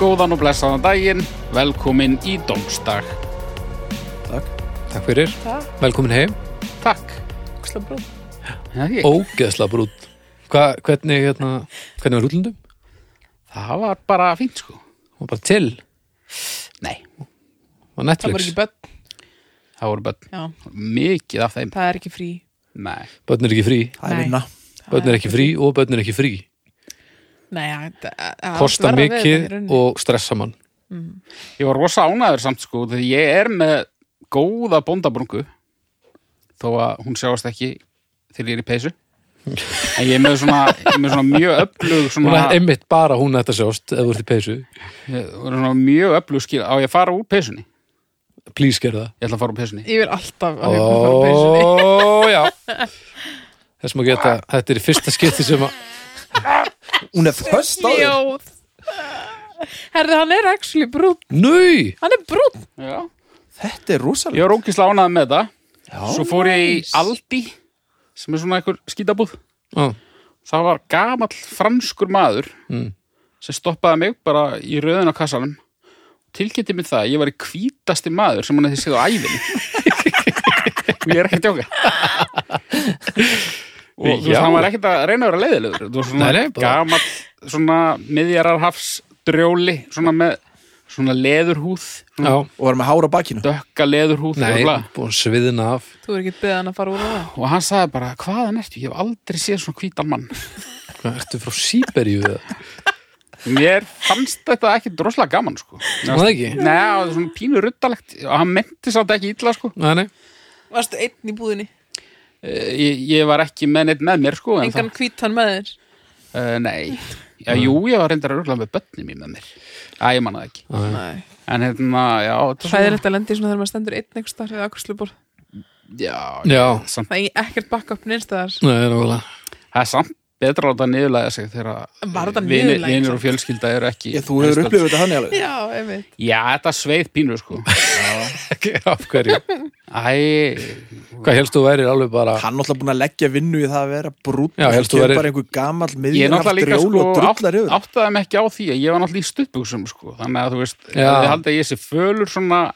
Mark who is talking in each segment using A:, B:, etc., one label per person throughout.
A: Góðan og blessaðan daginn, velkomin í Dómsdag.
B: Takk fyrir,
C: Það,
B: velkomin heim
A: Takk.
C: óksla brú.
A: Já, ég,
B: Ógeðsla brútt Hva, hvernig, hérna, hvernig var útlundum?
A: Það var bara fínt sko.
B: Var bara til,
A: Nei,
B: var
C: Það var
B: Netflix
C: ekki börn.
A: það voru börn.
C: Já,
A: Mikið af þeim.
C: það er ekki frí.
A: Nei.
B: Börn er ekki frí,
D: Það er
C: Nei.
D: vinna.
B: börn er ekki frí og börn er ekki frí
C: Nei, það það- það-
B: Kosta
C: verra við þetta í
B: mikið
C: rauninni.
B: og stressa mann
A: Ég var rosa ánæður samt sko, þegar ég er með góða bóndabrungu, þó að hún sjáast ekki þegar ég er í peysu. En ég er með svona, ég er með svona mjög öflug
B: Hún
A: svona,
B: er einmitt bara hún þetta sjást ef þú ert í peysu,
A: ég, svona mjög öflug skil á ég að fara úr peysunni.
B: please gerð
A: Ég ætla að fara úr peysunni.
C: Ég vil alltaf að
B: það
C: við komum frá peysunni.
B: Ó, já Þess maður geta, þetta er í fyrsta skipti sem að
D: Hún er föst á þér.
C: Ljóð. Herðu, hann er actually brún.
B: Nau,
C: Hann er brún.
A: Já.
D: Þetta er
A: Ég
D: rosalega.
A: var ókislega ánæður með þetta.
D: Já,
A: Svo fór ég í
C: Nice.
A: Aldi sem er svona einhver skítabúð
D: Mm.
B: Á,
A: það var gamall franskur maður
B: Mm.
A: sem stoppaði mig bara í röðun á kassanum tilkynnti mér það að ég var í hvítasti maður sem hann hefði séð á ævinni og ég er ekki að tjóka og þú veist,
B: Já.
A: hann var ekkert að reyna að vera leiðilegur þú veist, svona
B: Nei, nei, bara-
A: gamall svona miðjararhafs drjóli svona með svona leðurhúð svona
B: já,
D: og var með hára bakinu.
A: dökka leðurhúð
B: nei,
A: örugglega.
B: búin sviðina af
C: Þú er ekki beðið hann að fara úr á það.
A: og hann sagði bara, hvaðan ertu? Ég hef aldrei séð svona hvítan mann.
B: Hvað, ertu frá Sýberíu eða?
A: Mér fannst þetta ekki droslega gaman, sko.
B: Var það ekki?
A: Nei, það var svona pínu ruttalegt og hann menti samt ekki illa, sko.
B: Nei, nei,
C: Varstu einn í búðinni.
A: Eh, Ég, ég var ekki með neitt með mér, sko. en
C: Engan hvítan með þér.
A: það- Eh, Nei. Já, jú, ég var reyndar að rugla með börnum í með mér. Æ, ég manna það ekki.
B: Nei.
C: Nei.
A: En hérna, já, þetta er
C: Hræðilegt að lendi svona þegar maður stendur einn einhvers þar eða aksluborð.
A: Já,
B: já
A: samt,
C: Það er ekkert backup neinstæðar.
B: Nei, nákvæmlega.
A: það er samt betra að láta niðurlega sig þegar
C: Var þetta
A: vinir-
C: niðurlæging
A: vinir
C: samt?
A: og fjölskylda eru ekki.
D: Ég, þú hefur upplifað þetta hann alveg.
C: Já, ef við.
A: Já, þetta sveið pínu, sko.
B: Af hverju?
A: Æ,
B: Hvað helst þú værir alveg bara
D: Hann er náttúrulega búin að leggja vinnu í það að vera brútt.
B: Já, helst þú værir-
D: bara einhver gamall
A: Ég er
D: miðjum
A: náttúrulega líka
D: drjól
A: sko
D: og
A: átt,
D: drullar yfir.
A: áttaði mig ekki á því að ég var náttúrulega í stuttbuxum sko. þannig að þú veist, ef
B: Já.
A: þið haldið að ég sé fölur svona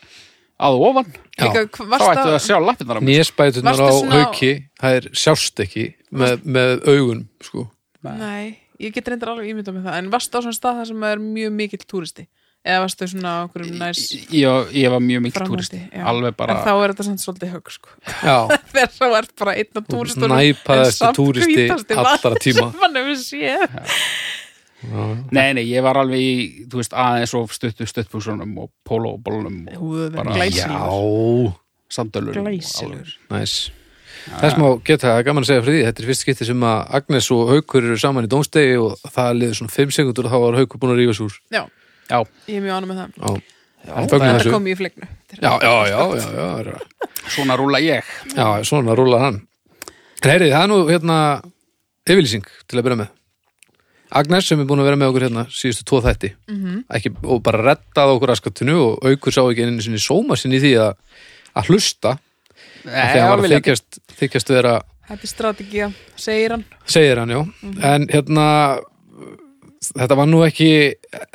A: að ofan
C: Líka,
B: Já.
C: hv-
A: þá
C: varstu
A: ættu það að
C: að-
A: sjá lappirnar á mér
B: nýjespætunar
C: Varstu
B: á
C: svona á-
B: hauki það er sjást ekki með, með augun sko.
C: Nei, ég get reyndar alveg ímynda með það En varstu á svona stað þar sem er mjög mikill túristi Eða varstu svona á okkur næs
A: ég, ég var mjög mikil túristi
C: framhaldi já.
A: alveg bara,
C: En þá er þetta samt svolítið högg sko.
B: Já,
C: Þegar þá er bara einn af túristunum
B: Snæpaðasti
C: en samt
B: túristi
C: hvítasti
B: allra
C: maður
B: tíma.
C: sem hann hefur séð.
A: nei nei, ég var alveg í þú veist, aðeins og stuttu stuttbuxunum og pólóbólunum og
C: Þú verður
A: Bara-
C: glæsilegur.
B: já
A: sandölur
C: Glæsilegur.
B: næs Þess má geta það er gaman að segja fyrir því þetta er fyrst skipti sem að Agnes og Haukur eru saman í dómstegi og það liður svona 5 sekundur og þá var Haukur búin að rífa súr
C: Já,
A: Já,
C: ég er mjög ánum með það
B: Já, En fögnum
C: Þetta
B: þessu.
C: kom ég í flegnu
B: já, já, já, já, já, já.
A: svona rúla ég
B: já svona rúlar hann Heyri, það er nú hérna yfirlýsing til að byrja með Agnes sem er búin að vera með okkur hérna síðustu tvo þætti
A: Mhm.
B: ekki, og bara rettaði okkur raskatunni og aukur sá ekki einu sinni sóma sinni í því að, að hlusta
A: Nei,
B: þegar hann var
A: alveg
B: að
A: ekki.
B: þykjast, þykjast vera
C: Þetta er strategía, segir hann
B: segir hann, já
A: Mhm.
B: en hérna þetta var nú ekki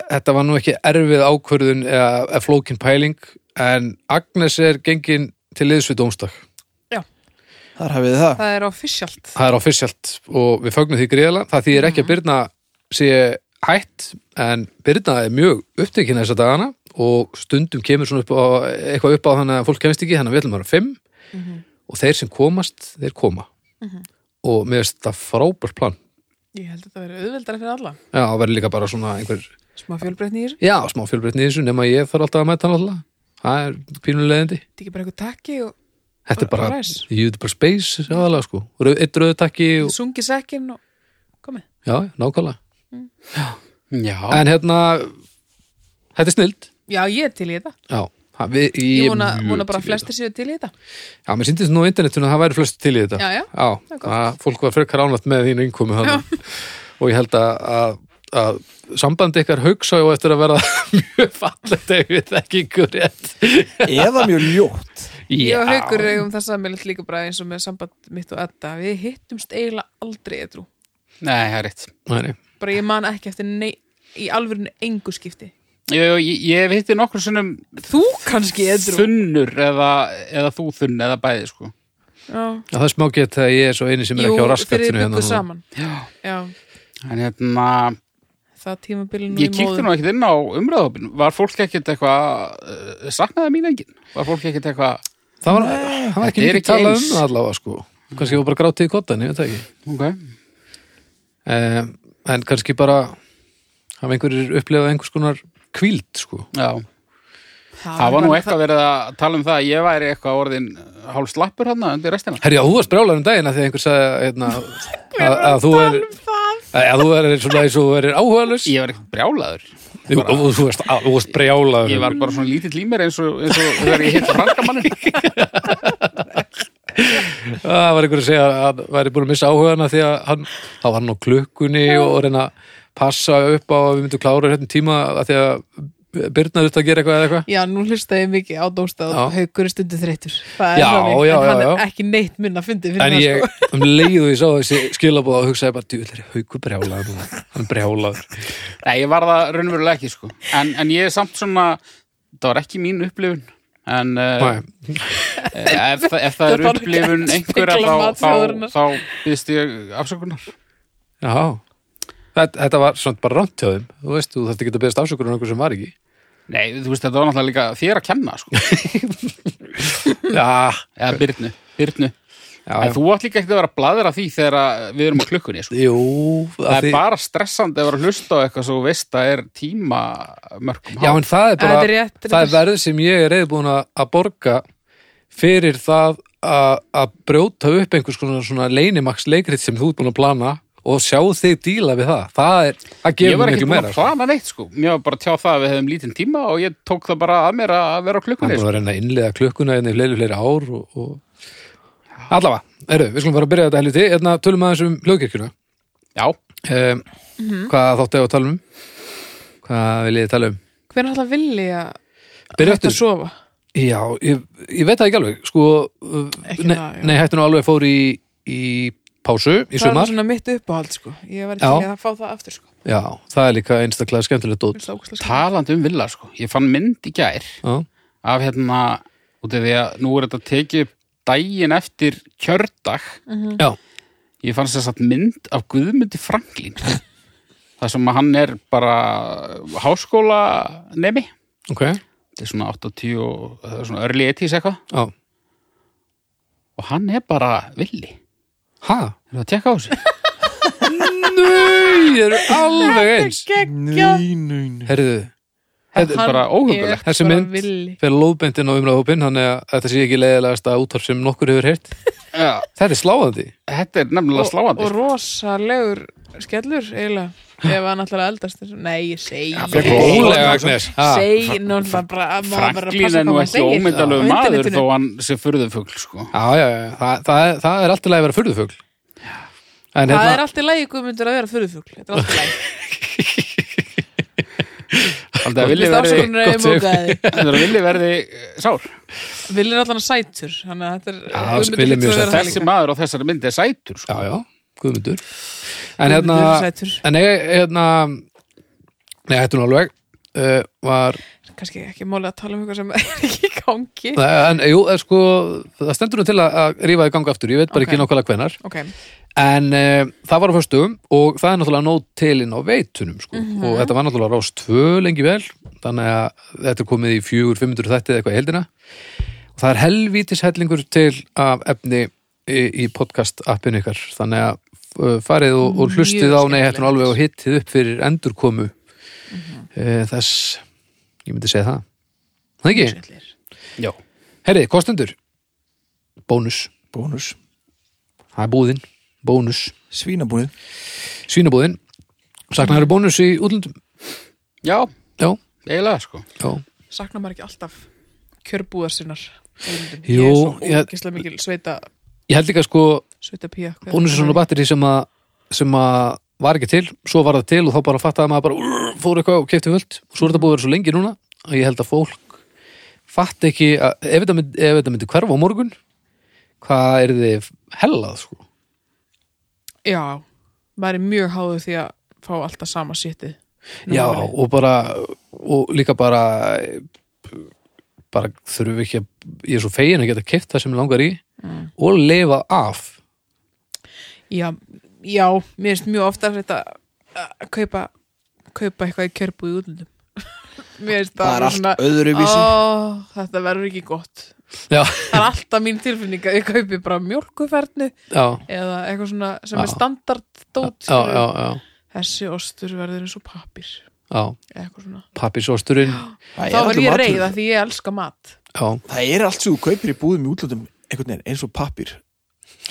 B: þetta var nú ekki erfið ákvörðun eða, eða flókin pæling en Agnes er gengin til liðs við dómstak
D: Þar hafið þið það.
C: Það er officialt
B: það er officialt og við fögnum því greiðlega það því er ekki að Byrna sé hætt en Byrna er mjög upptekinn þessa dagana og stundum kemur svona upp á, eitthvað upp á þannig að fólk kemst ekki þannig að við ætlum að vera fimm og þeir sem komast, þeir koma og mér finnst það frábært plan
C: Ég held að þetta verður auðveldari fyrir alla
B: Já, það verður líka bara svona einhver,
C: Smá fjölbreytni í þessu
B: já, smá fjölbreytni í þessu nema ég þarf alltaf að mæta hann alltaf. Það er pínulegandi.
C: Þetta er ekki bara eitthvað takki og
B: Þetta er bara,
C: Og ræs.
B: ég veit bara space, aðalega sko. Rau- Einn rauðutakki og,
C: sungi sekkin og komið
B: já, nákvæmlega.
A: Já,
B: En hérna, þetta er snild.
C: Já, ég er til í þetta.
B: Já, það- við,
C: Ég,
B: ég,
C: vona,
B: er mjög
C: vona bara
B: til í
C: flestir séu til í þetta.
B: þetta. Já, mér síndist nú á internetinu að það væri flest til í þetta.
C: Já, já,
B: Já,
C: það er gott.
B: að fólk var frekar ánætt með þínu innkomi hann. Og ég held að, að, að sambandi ykkar haugsa og eftir að vera mjög fallegt ef við þekki ykkur rétt.
D: Eða mjög ljótt.
C: Ég og Haukur eigum það sammeilegt líka bara eins og með samband mitt og Edda. Við hittumst eiginlega aldrei E edru.
A: nei, það er rétt
B: Nei, nei.
C: Bara ég man ekki eftir nei, í alvörinu engu skipti.
A: Ég, ég, ég veitir nokkur sinnum
C: Þú kannski edru
A: þunnur eða, eða þú þunn eða bæði sko.
C: Já,
B: Já, það er smá gett þegar ég er svo eini sem er ekki á
C: þeir
B: raskattinu
C: byggu
B: hérna núna.
C: saman
A: Já.
C: Já,
A: En hérna,
C: það tímabilið nú
A: ég kíkti nú ekkert inn á umræðhópin. Var fólk ekkert eitthvað, uh, saknaði mín enginn? Var fólk ekkert eitthvað,
B: Það var, það
A: Þetta
B: var ekki
A: er
B: mikið
A: ekki
B: talað um
A: eins.
B: það allavega sko. Kannski var bara grátið í kottan, ég veit það ekki.
A: ok,
B: Um, en kannski bara hafa einhverjir upplifað einhvers konar kvíld sko.
A: já. Það var nú eitthvað verið að tala um það að ég væri eitthvað orðin hálf slappur hann undir restina.
B: Herja, þú varst brjálar um daginn að því að einhver sagði hérna, að, að þú er
C: um Það
B: að, að þú er svona eins og þú er áhugaðlust
A: Ég var ekkert brjálaður.
B: Jú, og þú varst, að, þú varst brjálar
A: Ég var bara svona lítill í mér eins og, eins og þegar ég hitt frankamannin.
B: Ah, Það var einhver að segja að hann væri búin að missa áhugana því að hann, þá var hann á klukkunni og reyna að passa upp á að við myndum klára hérna tíma að því að Birna þurft að gera eitthvað eða eitthvað
C: Já, nú hlustaði ég mikið á dóstað og
B: Já.
C: haukur er stundu þreytur Það er
B: Já,
C: þannig,
B: já,
C: en hann
B: já,
C: er
B: já.
C: ekki neitt minna fyndið fyrir
B: En
C: það sko.
B: ég, um leiðu ég sá þessi skilabóð og hugsaði bara, djúl, er hauku brjálaður núna Hann er brjálaður
A: Nei, ég var það raunverulega ekki, sko. En, en ég er samt svona, það var ekki mín upplifun. En uh,
B: Nei,
A: Eh, ef, þa- ef það er
C: var
A: upplifun
C: ekki að
A: einhverja
C: spegla
A: þá,
C: mat
A: þá,
C: þjóðarinnar.
A: þá byggst ég afsökunar.
B: já Þetta, þetta var svona bara rámt hjá þeim Þú veist, þú þetta getur beðast afsökunar um einhver sem var ekki
A: Nei, þú veist, þetta var náttúrulega líka þér að kenna, sko.
B: Já,
A: Eða Byrnu, Byrnu.
B: já,
A: En
B: já.
A: þú átt líka ekkert að vera að bladra því þegar að við erum á klukkunni, sko.
B: Jú,
A: Það
B: að
A: er
B: því
A: bara stressandi að vera að hlusta á eitthvað svo þú veist að er tíma mörgum
B: Já, en það er bara,
C: Þetta er rétt, þetta er
B: það er
C: rétt.
B: verð sem ég er reyðbúin að að borga fyrir það að að brjóta upp einhers konar svona leynimax leikrit sem þú ert búin að plana og sjá þig díla við það. Það er, það
A: Ég
B: gefur
A: var
B: mér
A: ekki
B: ekki
A: búin
B: meira.
A: að plana neitt sko Mér var bara að tjá það að við hefum lítinn tíma og ég tók það bara að mér að vera á
B: Það er
A: klukkunni
B: búin
A: sko.
B: að reyna að innlega klukkuna einnig fleiri fleiri ár og, og... allavega, eru, við skulum fara að byrja þetta helviti, hérna tölum aðeins um hljóðkirkjuna
A: Já,
B: um,
C: Mhm.
B: hvað þáttu ég að tala um hvað vil ég tala um
C: Hver er alltaf villi að
B: byrja eftir
C: hætta að sofa?
B: Já, ég, ég veit það ekki alveg sko, uh,
C: Ekki
B: nei,
C: það, já.
B: nei, hættu nú alveg fór í, í pásu í
C: Það er nú
B: sumar
C: svona mitt uppáhald sko Ég var
B: Já.
C: ekki að fá það aftur sko
B: Já, það er líka einstaklega skemmtilegt dót
C: Finnst það ógeðslega skemmt.
A: talandi um villar sko Ég fann mynd í gær
B: Já,
A: af hérna út af því að nú er þetta tekið upp daginn eftir kjördag
C: Mhm.
B: já,
A: Ég fann sér satt mynd af Guðmundi Franklín Það sem að hann er bara háskóla nemi
B: ok Já,
A: Þetta er svona 80 og það er svona örli etís eitthvað og hann er bara villi
B: ha?
A: Er það að tekka á þessu?
B: Nei, þeir eru alveg eins
C: Geggjað.
D: Nei, nei, nei
B: Herðu,
A: Þetta er
C: Hann
A: bara óhugulegt
C: er
B: Þessi
C: bara
B: mynd.
C: villi.
B: fyrir lóðbeintin á umræðhópin þannig að þetta sé ekki leiðilegasta útvarp sem nokkur hefur heyrt
A: Já,
B: Þetta er sláðandi
A: Þetta er nefnilega
C: og,
A: sláandi
C: og
A: sko.
C: rosalegur skellur eiginlega ef hann ætlar að eldast þessu. Nei, ég segi
B: Rólega, Agnes ha.
C: segi náttúrulega bara að maður bara
A: Franklín
C: passa
A: er nú
C: hvað maður
A: ekki
C: segir
A: ómyndalegu
C: á
A: maður
C: internetinu.
A: þó hann sé furðufugl sko.
B: Já, já, já, það, það, er- það er alltaf að vera furðufugl En
C: Það er
B: hérna,
C: allt í lagi guðmundur að vera furðufugl Þetta er allt í lagi
A: Þannig að
C: Þú
A: villi
C: veist,
A: verði,
C: afsökunar ef ég
B: gott
C: mókaði þig.
A: þannig að villi verði eh, sár
C: Villi er allan sætur Þannig að þetta er
B: Já,
C: Guðmundur
B: Villi er
C: hlýtur
B: mjög
C: að
B: sætur.
C: vera það
A: Þessi
C: líka.
A: maður á þessari myndi er sætur sko.
B: já, já, Guðmundur En hérna,
C: Guðmundur er sætur.
B: En ég, hérna Nei, hættu nú alveg uh, var,
C: Kannski ekki máli að tala um eitthvað sem er ekki í gangi
B: en, Jú, er, sko, það stendur nú til að, að rífa í ganga aftur Ég veit bara
C: Ok.
B: ekki nákvæmlega hvenar
C: Ok,
B: En uh, það var á föstum og það er náttúrulega nóg til inn á veitunum sko.
C: Mhm.
B: og þetta var náttúrulega rás tvö lengi vel þannig að þetta er komið í fjögur, 500 þætti eða eitthvað í heldina og það er helvítis hellingur til af efni í, í podcast appinu ykkar þannig að uh, farið og, og
C: Mjög
B: hlustið á nei,
C: skemmtilegt. Mhm.
B: hérna alveg og hittið upp fyrir endurkomu uh, þess ég myndi segja það Það ekki?
C: sætlir
A: Já.
B: Herri, kostendur Bónus,
D: Bónus
B: það er búðin Bónus
D: Svínabúið
B: svínabúðin saknaður bónus í útlöndum
A: Já,
B: já,
A: eiginlega sko.
B: já,
C: Saknar maður ekki alltaf kjörbúðar sinnar Guðmundum?
B: Jú,
C: Ég er svo
B: ég-
C: ógislega mikil sveita,
B: ég held líka sko
C: sveita pía Hvað
B: bónus er
C: það?
B: svona batteri sem að sem að var ekki til, svo var það til og þá bara fattaði maður bara "Urr", fór eitthvað og kefti völd og svo er þetta búið að vera svo lengi núna að ég held að fólk fatt ekki að, ef, þetta myndi, ef þetta myndi hverfa á morgun hvað er þið hellað sko
C: Já, maður er mjög háður því að fá alltaf sama sitið
B: Já, og bara og líka bara bara þurfum við ekki að ég er svo fegin að geta keft það sem mig langar í og lifa af
C: Já, já, mér finnst mjög ofta þetta að kaupa kaupa eitthvað í kjörbu í útlundum Mér finnst
D: Það er
C: alveg
D: allt öðruvísi
C: ó, þetta verður ekki gott
B: Já,
C: Það er alltaf mín tilfinning að ég kaupi bara mjólkufernu
B: já,
C: eða eitthvað svona sem
B: Já.
C: er standard dót
B: já,
C: skilurðu.
B: já, já,
C: Þessi ostur verður eins og pappir
B: já.
C: eða eitthvað svona
B: pappisósturinn
C: Þá
D: Það er
C: verður
D: allur
C: ég
D: matur.
C: reyð að því ég elska mat
B: já,
D: Það er allt sem þú kaupir í búðum í útlöndum einhvern veginn eins og pappir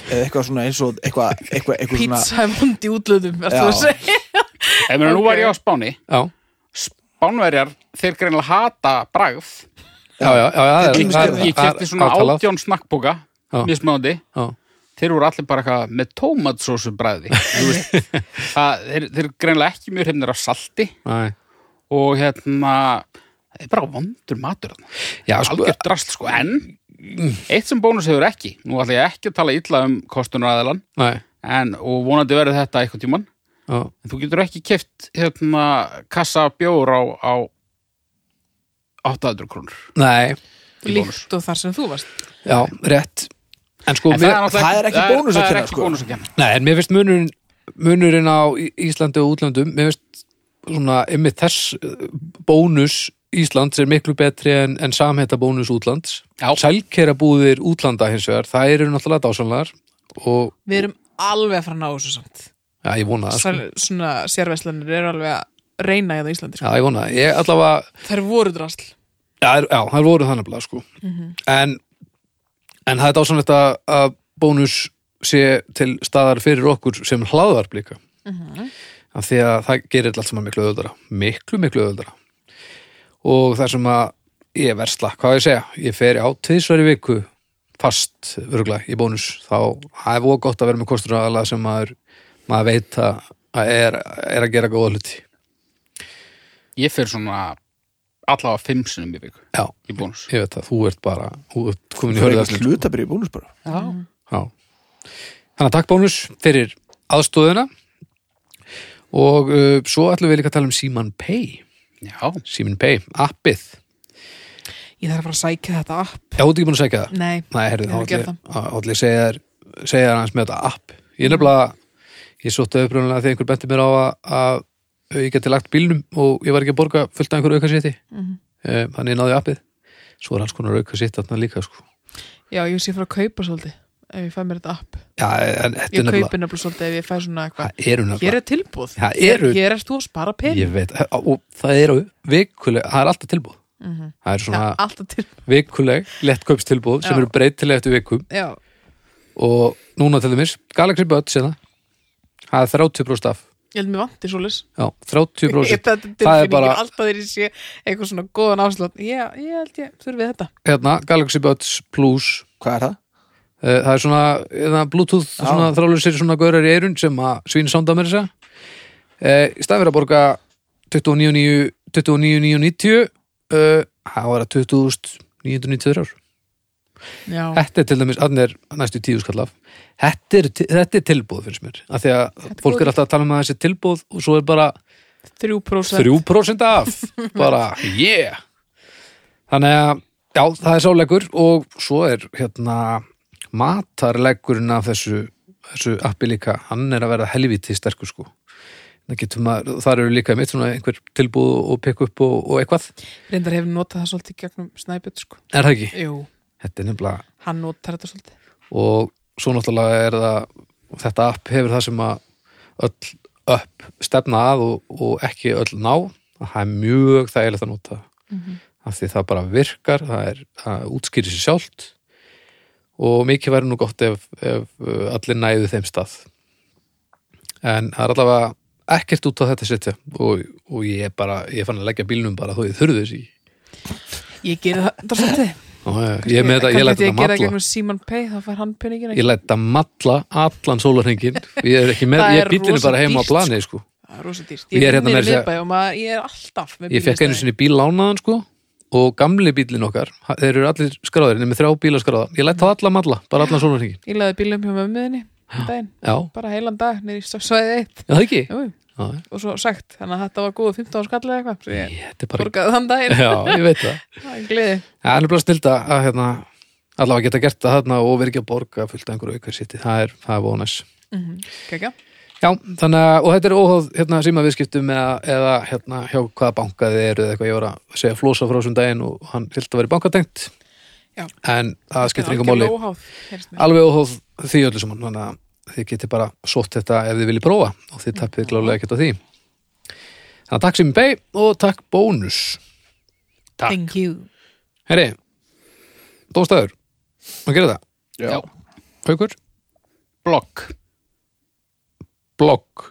D: eða eitthvað svona eins og eitthvað, eitthvað, eitthvað svona
C: Pizza er vond í útlöndum ertu
D: Já.
C: að segja?
A: Ef mér nú
C: Ok.
A: var ég á Spáni
B: já
A: Spánverjar, þeir greinilega hata bragð
B: Já, já, já, já,
D: Ég-
B: það er-
A: Ég
B: það er
A: kefti svona
B: átalað.
A: átjón snakkbóka
B: Já.
A: mismándi
B: Já,
A: Þeir voru allir bara eitthvað með tómatsósu bræði það, þeir, þeir eru greinlega ekki mjög hefnir af salti
B: næ.
A: og hérna það er bara vondur matur þarna.
B: já sko, Mm.
A: algjör drast sko, en eitt sem bónus hefur ekki, nú ætla ég ekki að tala illa um kostunaræðalan,
B: næ,
A: en og vonandi verður þetta eitthvað tíman
B: já,
A: en þú getur ekki keft hérna kassa af bjór á, á 800 krónur
B: næ,
A: í bónus.
C: Líkt og þar sem þú varst
B: já, rétt En sko,
A: En
B: mér,
A: náttúrulega
D: það er ekki bónus að
A: það er
D: kenna,
A: ekki
D: sko.
A: bónus að kenna.
B: nei, en mér finnst munurinn munurinn á Í- Íslandi og útlöndum mér finnst svona ymmið þess eh, bónus Íslands er miklu betri en, en samheta bónus útlands
A: Já.
B: Sælkera búðir útlanda hins vegar það eru náttúrulega dásanlegar og
C: Við erum alveg að fara að ná þessu samt
B: já, ég vona það sko.
C: Sal, svona sérverslanir eru alveg að reyna hérna á Íslandi
B: Já,
C: sko.
B: ég vona það, ég allavega
C: Þær voru drasl
B: Já, er- já það voru þannig blað sko en, en það er dásanlegt að, að bónus sé til staðar fyrir okkur sem hlaðvarp líka af því að það gerir allt saman miklu auðvöldara miklu, miklu auðvöldara og það sem að ég versla hvað á ég að segja, ég fer á tvisveri viku fast, örgulega, í bónus þá það er voða gott að vera með kostur aðalega sem maður, maður veit að að er, er að gera góða hluti
A: ég fer svona allavega fimm sinum í viku
B: já,
A: í bónus
B: ég veit að þú ert bara þú ert komin í sko.
D: Það er
B: hörðasli
D: eitthvað hlutabrið í bónus bara
A: Já.
B: Já. Þannig að takk bónus fyrir aðstóðuna og uh, svo ætlum við líka að tala um Simon Pay.
A: Já.
B: Simon Pay, appið.
C: Ég þarf að fara að sækja þetta app
B: Já, þú ert ekki búin að segja það?
C: Nei,
B: Nei, herrðu,
C: Ég
B: þá
C: er að
B: ætlum
C: gera
B: ég- á- ætlum ég að segja þér- segja þér aðeins með þetta app. Ég er nefnilega, ég sótti uppröðunlega þegar einhver benti mér á að, að ég geti lagt bílnum og ég var ekki að borga fullt af einhverju aukasétti. Mm
C: Mhm.
B: -hmm. Þannig ég náði appið. Svo er alls konar aukasétt þarna líka, sko.
C: já ég sé að fara að kaupa svolítið ef ég fæ mér þetta app
B: Já, en þetta er
C: Ég
B: nefnilega.
C: kaupi nefnilega svolítið ef ég fæ svona eitthvað
B: Það eru nefnilega.
C: Hér er tilbúð
B: Það eru-
C: Hér ert þú að spara pening
B: Ég veit, eh, og það eru vikuleg, það er alltaf tilbúð
C: Mhm.
B: Það er svona
C: Það er alltaf til
B: vikuleg lettkaupstilbúð sem
C: Já.
B: eru breytileg eftir vikum
C: Já,
B: og núna til dæmis, Galaxy Buds hérna, það er 30% af
C: ég held mér vanti svolítið
B: já,
C: Ég
B: 30%
C: þetta er
B: Það er
C: tilfinningin
B: bara-
C: alltaf þegar ég sé eitthvað svona góðan afslátt Já, ég held ég þurfi þetta
B: hérna, Galaxy Buds Plus
D: Hvað er það?
B: Eh, það er svona, eða bluetooth svona þrálusir svona gaurar í eirun sem að svín sonda mér þessa uh, í staðfyrir að borga 29.990 29.990 uh, það var að 20.993 ár
C: Já,
B: Þetta er til dæmis, þannig er næstu tíu skall af Þetta er, þetta er tilbúð fyrir mér af því að
C: er
B: fólk
C: góð.
B: er alltaf að tala um að þessi tilbúð og svo er bara
C: 3%
B: 3% af bara yeah Þannig að, já, það er sáleikur og svo er hérna matarleikurinn af þessu þessu appi líka, hann er að verða helviti sterkur sko Það getur maður, þar eru líka mitt svona einhver tilbúð og pick up og, og eitthvað
C: Reyndar hefur notað það svolítið gegnum snæbjörn sko.
B: Er það ekki?
C: Jú,
B: Þetta er nefnilega
C: hann notar þetta svolítið
B: og svo náttúrulega er það þetta app hefur það sem að öll upp stefna að og, og ekki öll ná það er mjög þægilegt að nota af því það bara virkar það er að útskýri sér sjálft og mikið væri nú gott ef, ef uh, allir næðu þeim stað en það er allavega ekkert út á þetta setja og, og ég er bara, ég fann að leggja bílnum bara þó ég þurfið þessi
C: Ég gerði það, það svolítið
B: ég er með þetta, ég læt
C: Kannski
B: þetta
C: ætti að gera það
B: matla
C: gegnum Simon Pay, þá fær hann peningina
B: ég læt að matla allan sólarhengin ég er ekki með,
C: Það
B: ég
C: er
B: býtinu
C: rosa
B: bara heima á
C: dýrt,
B: plani sko.
C: Það er rosa dýrt
B: Ég er hérna
C: vinnur
B: meira að
C: í
B: segja-
C: miðbæ og maður, ég er alltaf með
B: ég fekk einu
C: bílastæði.
B: sinni bíl lánaðan sko og gamli bílin okkar, ha- þeir eru allir skráðir nema þrjá bíla skráða, ég læt það alla matla bara allan sólarhengin,
C: Ég laði bílum hjá mömmuðinni um daginn,
B: já,
C: bara heilan dag, niður í svæðið eitt
B: já það ekki
C: Jú, jú.
B: Já, já.
C: og svo sagt, þannig að þetta var góð 15 skallið eitthvað, svo ég
B: Þetta er bara
C: borgaði þann daginn
B: Já, ég veit það
C: Það er gleði
B: Það er nefnilega snilda að hérna, allavega geta gert það þarna og verið ekki að borga fullt af einhverju aukverð sitt það er, það er vonus
C: Kekja,
B: Já, þannig að, og þetta er óháð hérna, símaviðskiptum eða, eða hérna, hjá hvaða banka þið eru eða eitthvað ég var að segja flosa frá þessum daginn og hann held að vera bankatengt
C: Já.
B: en það skiptir
C: það
B: engum máli
C: óháð heyrist mér.
B: alveg óháð því öllu saman þannig að þið getið bara sótt þetta ef þið viljið prófa og þið tappið glálega ekkert á því Þannig að takk Simi Bey og takk Bónus Takk.
C: Thank you
B: Herri, dómstæður Má gera það?
A: Já.
B: Haukur?
A: Blogg.
B: Blogg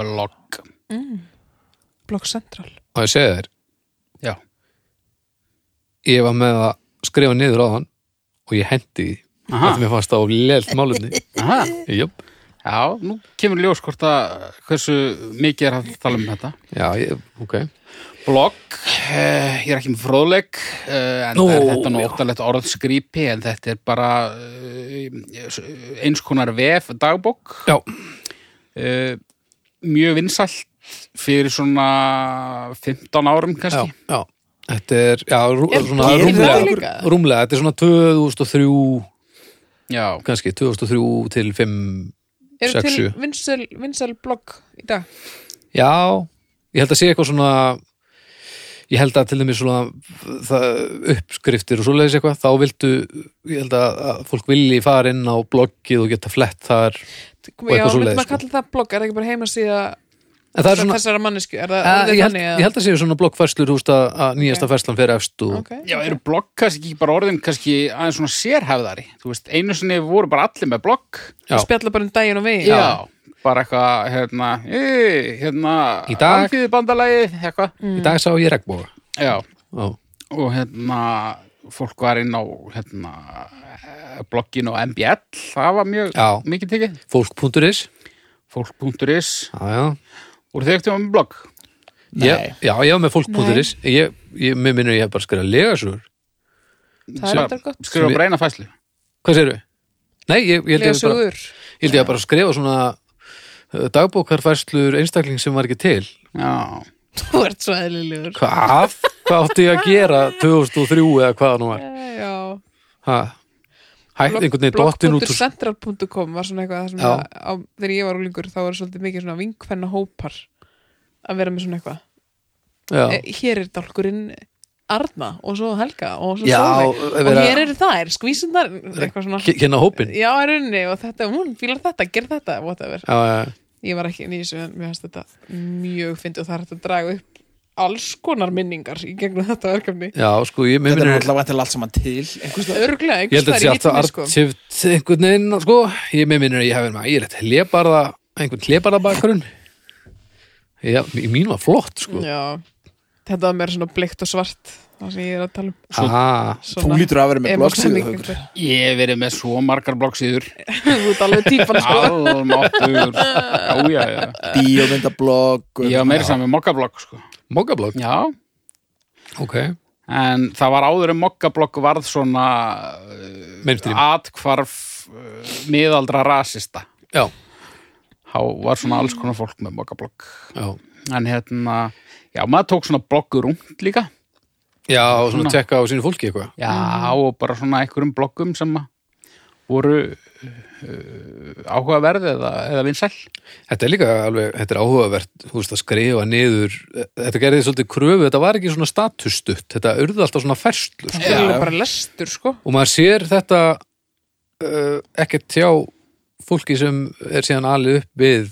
A: Blogg.
C: Block Central
B: og ég segi þér,
A: Já.
B: ég var með að skrifa niður á hann og ég hendi því
A: Aha.
B: að mér fannst það of lelt málumni
A: Aha.
B: Jöp.
A: Já, nú kemur ljós hvort að hversu mikið er að tala um þetta.
B: Já, ég, ok
A: Blogg, eh, ég er ekki með fróðleik, eh, en
B: Nú,
A: það er þetta nú
B: já.
A: óttalegt orðskrýpi, en þetta er bara eh, eins konar vef dagbók.
B: Já,
A: Eh, mjög vinsælt fyrir svona 15 árum
B: já,
A: kannski.
B: já Þetta er, já, rú,
C: Er-
B: svona
C: er það
B: rúmlega,
C: líka?
B: rúmlega Þetta er svona 2003
A: Já.
B: kannski 2003 til 5
C: Eru
B: Sexu.
C: til vinsel, vinsel blogg í dag?
B: já, ég held að sé eitthvað svona ég held að til dæmis svona það, uppskriftir og svoleiðis eitthvað þá vildu, ég held að, að fólk vilji fara inn á bloggið og geta flett þar
C: Og
B: eitthvað svoleiðis,
C: maður
B: sko.
C: kalla það blogg, er það ekki bara heimasíða
B: en það er svona,
C: þessara mannesku? Er það
B: að,
C: orðið
B: Ah, ég, held,
C: þannig
B: ég held að sé svona bloggfærslur húst að, að nýjasta okay. færslan fyrir efst og
C: Ok.
A: Já, eru blogg kannski ekki bara orðin kannski aðeins svona sérhæfðari, þú veist, einu sinni voru bara allir með blogg,
B: Já.
C: Við spjalla bara um daginn og veginn
A: já, bara eitthvað, hérna, hey, hérna,
B: Í dag. Mm.
A: alþýðubandalagið, eitthvað,
C: Mm.
B: í dag sá ég regnbóga
A: já,
B: Ó,
A: og hérna, fólk var inn á, hérna, eh, bloggin og MBL, það var mjög,
B: Já.
A: mikið tekið,
B: fólk.is
A: fólk.is,
B: já, já.
A: og þeir eftir um blogg,
B: Ég, já, ég var með fólk.is ég, ég, mér minnur ég hef bara skrifað legasögur
C: Það er þetta gott
A: skrifa bara eina fæslu,
B: hvað segirðu? Nei, ég, ég held ég
C: Lega
B: bara
C: sögur
B: Ég held ég að bara skrifa svona uh, dagbókarfærslur einstakling sem var ekki til
A: já,
C: Þú ert svo eðlilegur
B: hvað? hvað átti ég að gera 2003 eða hvað það nú var
C: Já
B: ha? hætt einhvern veginn dottin út úr
C: blog.central.com var svona eitthvað það sem
B: Já.
C: að, á, þegar ég var úlingur þá var svolítið mikið svona vinkvenna hópar að vera með svona eitthvað
B: já,
C: e, hér er dálkurinn Arna og svo Helga og svo
B: Já,
C: Sólveig og
B: vera-
C: hér eru þær, skvísundar eitthvað svona
B: Ke- kynna hópin já,
C: já, er unni og þetta, hún fílar þetta, ger þetta whatever,
B: já,
C: ég var ekki nýs en mér finnst þetta mjög fyndi og það er hægt að draga upp alls konar minningar í gegnum þetta verkefni
B: já, sko ég, mér
D: Þetta er
B: minnur
D: náttúrulega vantilega allt saman til einhvers staðar.
C: örglega,
B: ég held að þetta sé alltaf
C: sko.
B: artivt einhvern veginn sko. ég mér minnur að ég hef verið með ægilegt hlebarða einhvern hlebarða bakgrunn já, í mín var flott sko.
C: já, þetta var mér svona bleikt og svart það sem ég er að tala um
B: ah,
D: Þú lítur að vera með bloggsíðu, Haukur.
C: blokksíðu
A: ég hef verið með svo margar bloggsíður,
C: þú ert alveg típan sko
A: allmáttur, já, já, já,
D: bíómyndablogg
A: ég hef meira saman með mokkablogg, sko,
B: mokablokk
A: já,
B: ok,
A: En það var áður en mokkablokk varð svona uh,
B: mainstream
A: atkvarf uh, miðaldra rasista.
B: já,
A: Há var svona alls konar fólk með mokkablokk.
B: já,
A: En hérna, já, maður tók svona bloggur ungt líka.
B: já og svona
A: Svona.
B: tekka á sínu fólki eitthvað
A: Já, og bara svona einhverjum bloggum sem að voru uh, áhugaverði eða, eða vinsæl.
B: Þetta er líka alveg, þetta er áhugavert þú veist að skrifa niður þetta gerði svolítið kröfu, þetta var ekki svona statusstutt þetta urði alltaf svona ferslur sko.
C: það er alveg bara lestur sko
B: og maður sér þetta uh, ekkert hjá fólki sem er síðan alið upp við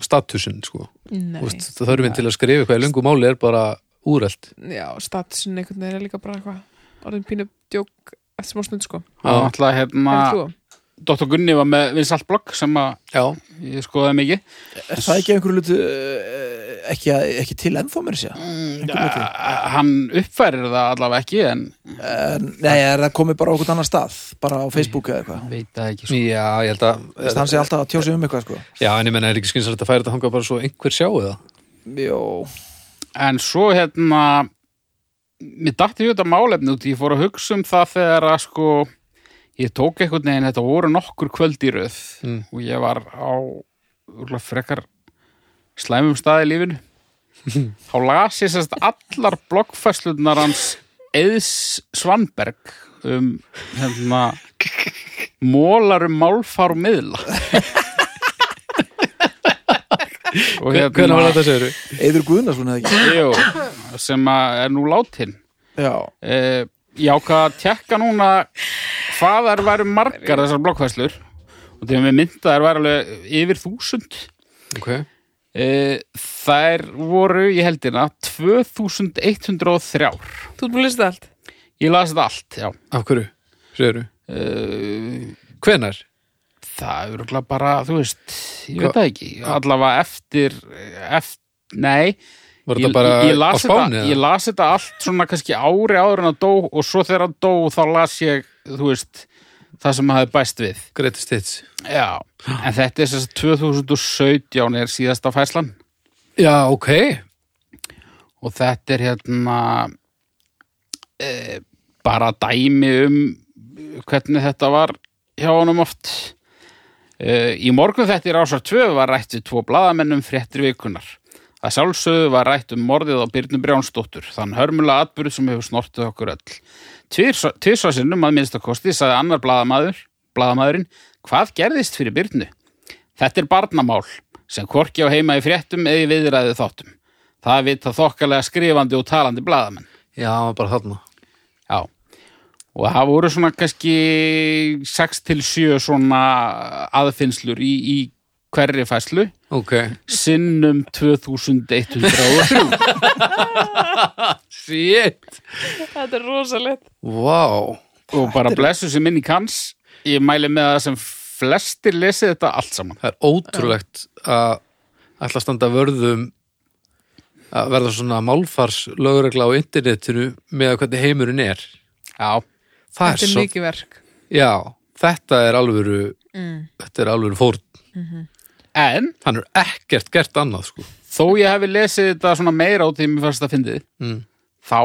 B: statusin sko. Þú
C: Nei.
B: veist, það þörfin til að skrifa eitthvað í löngu máli er bara úrælt
C: já, statusin einhvern veginn er líka bara eitthvað orðin pínu djók eftir smá stund sko
A: Og náttúrulega hérna,
C: Hefur þú?
A: Dr. Gunni var með vinsælt blogg sem að
B: Já,
A: ég skoðaði mikið.
D: Er það ekki einhverju lutu eh, ekki, ekki til ennþá mér sér?
A: Uh, hann uppfærir það allavega ekki, en
D: Nei, er það komið bara á okkur annar stað bara á Facebook eða eitthvað
A: veit það ekki
B: Sko. já ég held að
D: Þess að hann sé alltaf að tjósi um eitthvað sko
B: Já, en ég menna er ekki skynsalegt að færa þetta þangað bara svo einhver sjáu það
D: Jó,
A: En svo hérna mér dætti þetta málefni út ég fór að hugsa um það þegar að sko ég tók einhvern veginn, þetta voru nokkur kvöld í röð
B: Mm.
A: og ég var á úrlega frekar slæmum staði í lífinu þá las ég sérst allar bloggfæslunar hans Eðs Svanberg um hérna mólar um málfár miðla og
B: Hve- Hvernig var þetta segir
D: Eður Guðnarsson eða ekki
A: Jú, sem að er nú látin
D: Já,
A: uh, ég ákvað að tjekka núna hvað þær væru margar þessar blokkvæslur og þegar við mynda þær væru alveg yfir þúsund
B: Ok,
A: uh, þær voru, ég hérna, heldina 2103
C: Þú ert búin að lista allt
A: ég las þetta allt, já
B: af hverju segir
A: uh,
B: Hvenær?
A: það eru örugglega bara, þú veist ég
B: Hva-
A: veit það ekki, allavega eftir, eftir nei,
B: Var
A: ég,
B: þetta bara
A: ég, ég
B: á
A: las
B: Spáni?
A: þetta,
B: eða?
A: ég las þetta allt svona kannski ári áður en að dó og svo þegar hann dó þá las ég þú veist, það sem maður hafði bæst við
B: Greatest hits
A: já, en þetta er þess að 2017 er síðasta fæslan
B: Já, ok
A: og þetta er hérna e, bara dæmi um hvernig þetta var hjá honum oft e, í morgun þetta er ásar 2 var rætt við tvo bladamennum fréttir vikunar að sjálfsögðu var rætt um morðið á Byrnu Brjánsdóttur þann hörmulega atbyrð sem hefur snortið okkur öll tvisvar sinnum að minnsta kosti sagði annar bladamaður bladamaðurinn, hvað gerðist fyrir Byrnu? Þetta er barnamál sem hvorki á heima í fréttum eða í viðræðu þáttum Það vita þokkalega skrifandi og talandi blaðamenn.
B: Já, bara þarna
A: Já. Og það voru svona kannski 6 til 7 svona aðfinnslur í, í hverri fæslu
B: Ok
A: sinnum 2103.
B: Shit
C: Þetta er rosalegt
B: Vá
A: og bara blessu sem minni kanns. Ég mæli með það sem flestir lesi þetta allt saman.
B: Það er ótrúlegt að ætla að standa vörðum að verða svona málfars lögregla á internetinu með hvernig heimurinn er
A: Já.
B: Það
C: Þetta er
B: svo
C: mikið verk
B: Já, þetta er alvöru
C: Mm.
B: þetta er alvöru fórn
A: En
B: Hann er ekkert gert annað sko
A: þó ég hefði lesið þetta svona meira á því mér fannst að fyndið,
B: Mm.
A: þá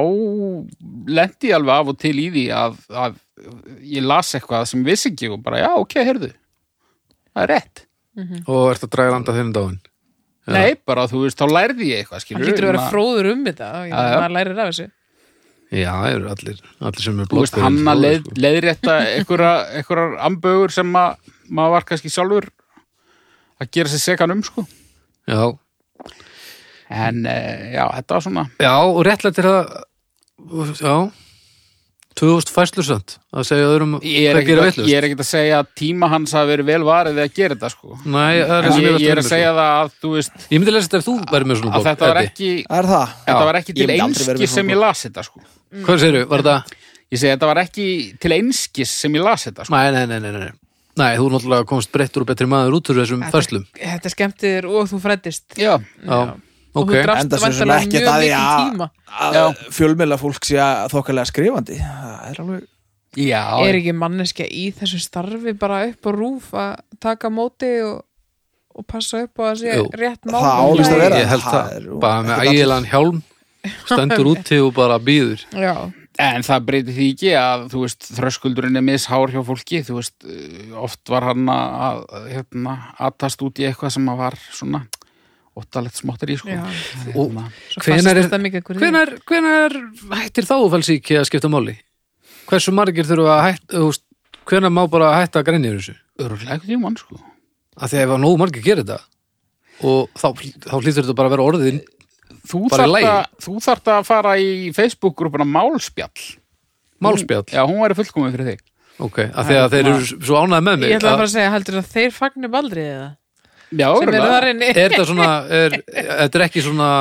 A: lendi ég alveg af og til í því að, að ég las eitthvað sem ég vissi ekki og bara, já, ok, heyrðu það er rétt.
C: Mhm.
B: og ert að draga landa þennan dáin
A: Nei, bara þú veist, þá lærði ég eitthvað,
C: Það
A: skilur
C: lítur að vera fróður um þetta og ég-
A: Já, já.
C: maður lærir af þessu
B: Já, það eru allir, allir sem er
A: Þú veist,
B: bloggerinn
A: hann að
B: fróðir,
A: leið,
B: sko.
A: leiðrétta einhverja, einhverjar ambögur sem að maður var kannski sjálfur að gera sér sekan um, sko
B: Já,
A: en eh, já, þetta var svona
B: Já, og réttlættir það Já 2000 fæslursönd að segja öðrum
A: ég er, ekkit,
B: hvað gera
A: að-
B: veitlust
A: ég er ekkit að segja að tíma hans hafi verið vel varið við að gera þetta, sko
B: Nei, það er
A: en
B: það
A: ég,
B: sem
A: ég er
B: velta
A: að
B: um,
A: segja það að, þú veist,
B: sko. Ég myndi lesa þetta ef þú væri með svona
A: að
B: blogg
A: þetta var
B: Eddi.
A: ekki
D: það er það
A: þetta
B: Já,
A: var ekki
D: ég
A: til
D: myndi aldrei vera með
A: einskis
D: svona
A: sem ég las þetta, sko
B: Hvað segirðu, var þetta?
A: ég segi, þetta var ekki til einskis sem ég las þetta, sko
B: Nei, nei, nei, nei, nei Nei, þú náttúrulega komst breyttur og betri maður út úr þessum færslum
C: Þetta skemmti þér og þú frættist
A: já,
B: Já,
C: Og
B: ok
C: þú drafst
D: Enda sem sem
C: vantarlega
D: ekkert
C: mjög
D: að því
C: mikið
D: að-
C: tíma
A: Já.
D: að fjölmiðla fólk sé að þokkalega skrifandi Það er alveg
A: já
C: Er ekki manneskja í þessu starfi bara upp á rúf að taka móti og, og passa upp á að sé
B: Jú.
C: rétt mál
D: Það
C: í
D: álist að
C: lagi?
D: vera
B: Ég held
D: Það
B: það,
D: er-
B: bara með
D: ekkert allir.
B: ægilegan hjálm Stendur úti og bara býður
C: Já,
A: En það breyti því ekki að, þú veist, þröskuldurinn er mishár hjá fólki, þú veist, eh, oft var hann að, að, hérna, aðtast út í eitthvað sem að var svona óttalegt smáttir í, sko.
C: Já.
A: Hérna.
C: svo
B: Hvenær
C: fastist
B: er-
C: þetta mikið hverju
B: Hvenær, hvenær hættir þá fælsíki að skipta máli? Hversu margir þurfa að hætta þú veist, Hvenær má bara hætta að grænja þessu?
A: Öruglega ekki tímann, sko.
B: að því að ef að nógu margir gerir þetta og þá, þá hlýtur þetta bara að vera orðin
A: Þú
B: Bara í
A: þarft
B: lagi.
A: að- þú þarft að fara í Facebook-grúpuna Málspjall.
B: málspjall
A: Já, hún væri fullkomið fyrir þig.
B: ok, að því að þeir eru svo ánægð með mig
C: Ég ætla bara að segja, heldur að þeir fagnir baldrið eða?
A: Já,
C: Sem eru
A: öruglega.
C: þar inni
B: er þetta svona er, þetta er ekki svona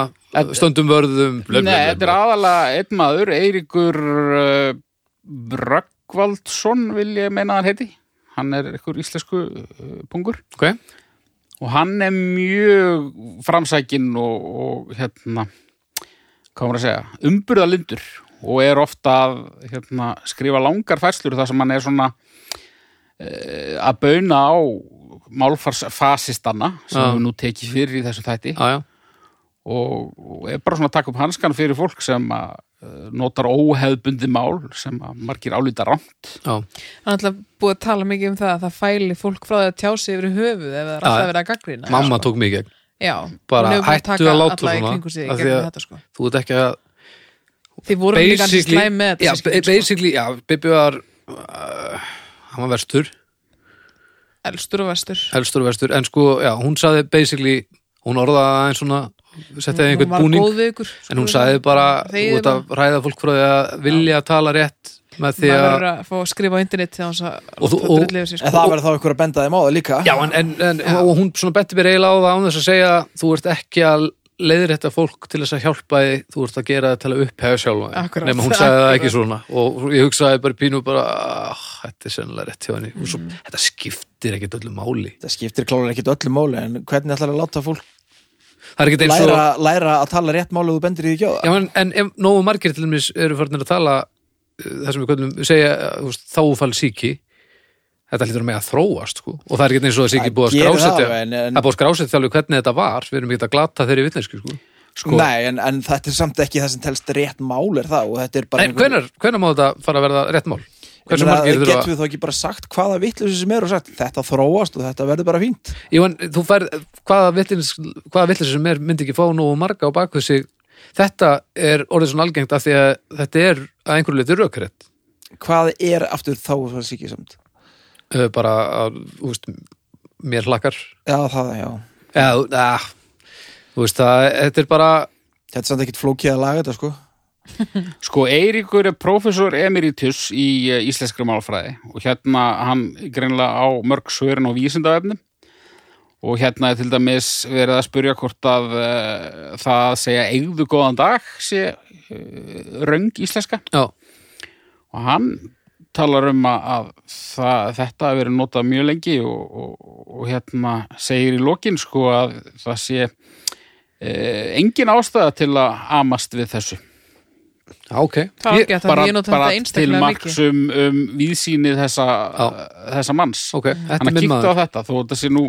B: stöndum vörðum blöf,
A: Nei, þetta er aðalega einn maður, Eiríkur uh, Röggvaldsson, vil ég meina að hann heiti. Hann er einhver íslensku uh, pungur.
B: okay.
A: og hann er mjög framsækin og, og hérna hvað var að segja, umburðalindur og er ofta að hérna, skrifa langar færslur þar sem hann er svona e, að bauna á málfarsfasistanna sem
B: Já.
A: við nú tekið fyrir í þessu þætti
B: á,
A: og, og er bara svona að taka upp hanskan fyrir fólk sem að eh, notar óhefbundi mál sem að margir álíta rámt
B: á.
C: Það er alltaf búið að tala mikið um það að það fæli fólk frá því að tjá sig yfir höfuð ef
B: Já,
C: það er alltaf
B: já.
C: verið að gaggrina
B: mamma tók mig í gegn
C: já,
B: Bara
C: hún hefur búin
B: hættu
C: taka
B: að láta
C: alla í
B: svona,
C: kringu sig í
B: af því
C: gegnum
B: að-
C: þetta, sko.
B: þú ert ekki að
C: þið voru líka hans
B: basically-
C: slæm með
B: já,
C: þetta systkinin, sko.
B: basically, já, Bibi var uh, hann var verstur,
C: elstur og vestur
B: elstur og verstur en sko, já, hún saði basically hún orðaði það eins svona setti
C: hún
B: einhvern
C: var
B: búning
C: góð við ykkur sko,
B: en hún saði bara, þú
C: þegar
B: ert
C: það
B: að ræða fólk frá því að vilja tala rétt með því
C: maður
B: að
C: verður að fá að skrifa á internet þegar hún
B: Og þú-
C: að
B: og-
C: drullið sig
D: En
C: sko.
D: það verður þá einhver að benda þeim á það líka
B: Já, en, en, en og hún svona betti mér eiginlega á það án þess að segja þú ert ekki að leiðir þetta fólk til þess að hjálpa því, þú ert að gera þetta til að upphefja sjálfa því,
C: Akkúrat,
B: nema hún sagði það
C: akkúrat.
B: ekki svona og ég hugsaði bara pínu bara "Ah, þetta er sennilega rétt hjá henni og
D: Mm.
B: svo, þetta skiptir ekkit öllu máli
D: Það skiptir klálega ekkit öllu máli En hvernig ætlar að láta fólk
B: það er ekkit eins og
D: læra, læra að tala rétt máli og þú bendir því ekki á það
B: Já, en, en ef nógu margir til dæmis eru farinir að tala uh, það sem við köllum, segja uh, þú veist, þáfall síki þetta hlýtur að með að þróast sko. og það er ekki eins og það sé ekki
D: Það
B: búið að
D: gerir það
B: skrásetja
D: alveg, en-
B: það
D: en-
B: er búið að skrásetja alveg hvernig þetta var við erum ekki að glata þeirri vitnesku sko. sko,
D: Nei, en, en þetta er samt ekki það sem telst rétt mál er það og þetta er bara
B: Nei, hvenar, hvenar má þetta fara að verða rétt mál? Hversu
D: Það
B: margir
D: getum
B: þurfa?
D: við þá ekki bara sagt hvaða vitleysu sem er og sagt þetta þróast og þetta verður bara fínt
B: Jú, en þú færð, hvaða vitlis, hvaða vitlis sem er myndi ekki fá nógu marga á baku sig Þetta er orðið svona algengt af því að þetta er að einhverju litur rökrétt
D: Hvað er aftur þá svo sikið samt?
B: Uh, bara að, þú veist, mér hlakkar
D: Já, það, já
B: Já, þú- að, þú veist það, þetta er bara
D: Þetta er samt ekkit flókið að laga þetta sko
A: Sko, Eiríkur er prófessor emeritus í eh, íslenskri málfræði og hérna hann greinlega á mörg svörin á vísindaefnum og hérna er til dæmis verið að spurja hvort að uh, það að segja eigðu góðan dag sé uh, röng íslenska
B: já,
A: og hann talar um að að það, þetta hafi verið notað mjög lengi og, og, og hérna segir í lokin sko að það sé eh, engin ástæða til að amast við þessu
B: já, ok
C: það er
B: ég,
C: ekki að það ég nota þetta einstaklega
A: til
C: mikið
A: marks um, um víðsýni þessa, þessa manns
B: Ok, þetta er
A: hann að
B: minn
A: kíkta á
B: maður
A: þetta þó þetta sé nú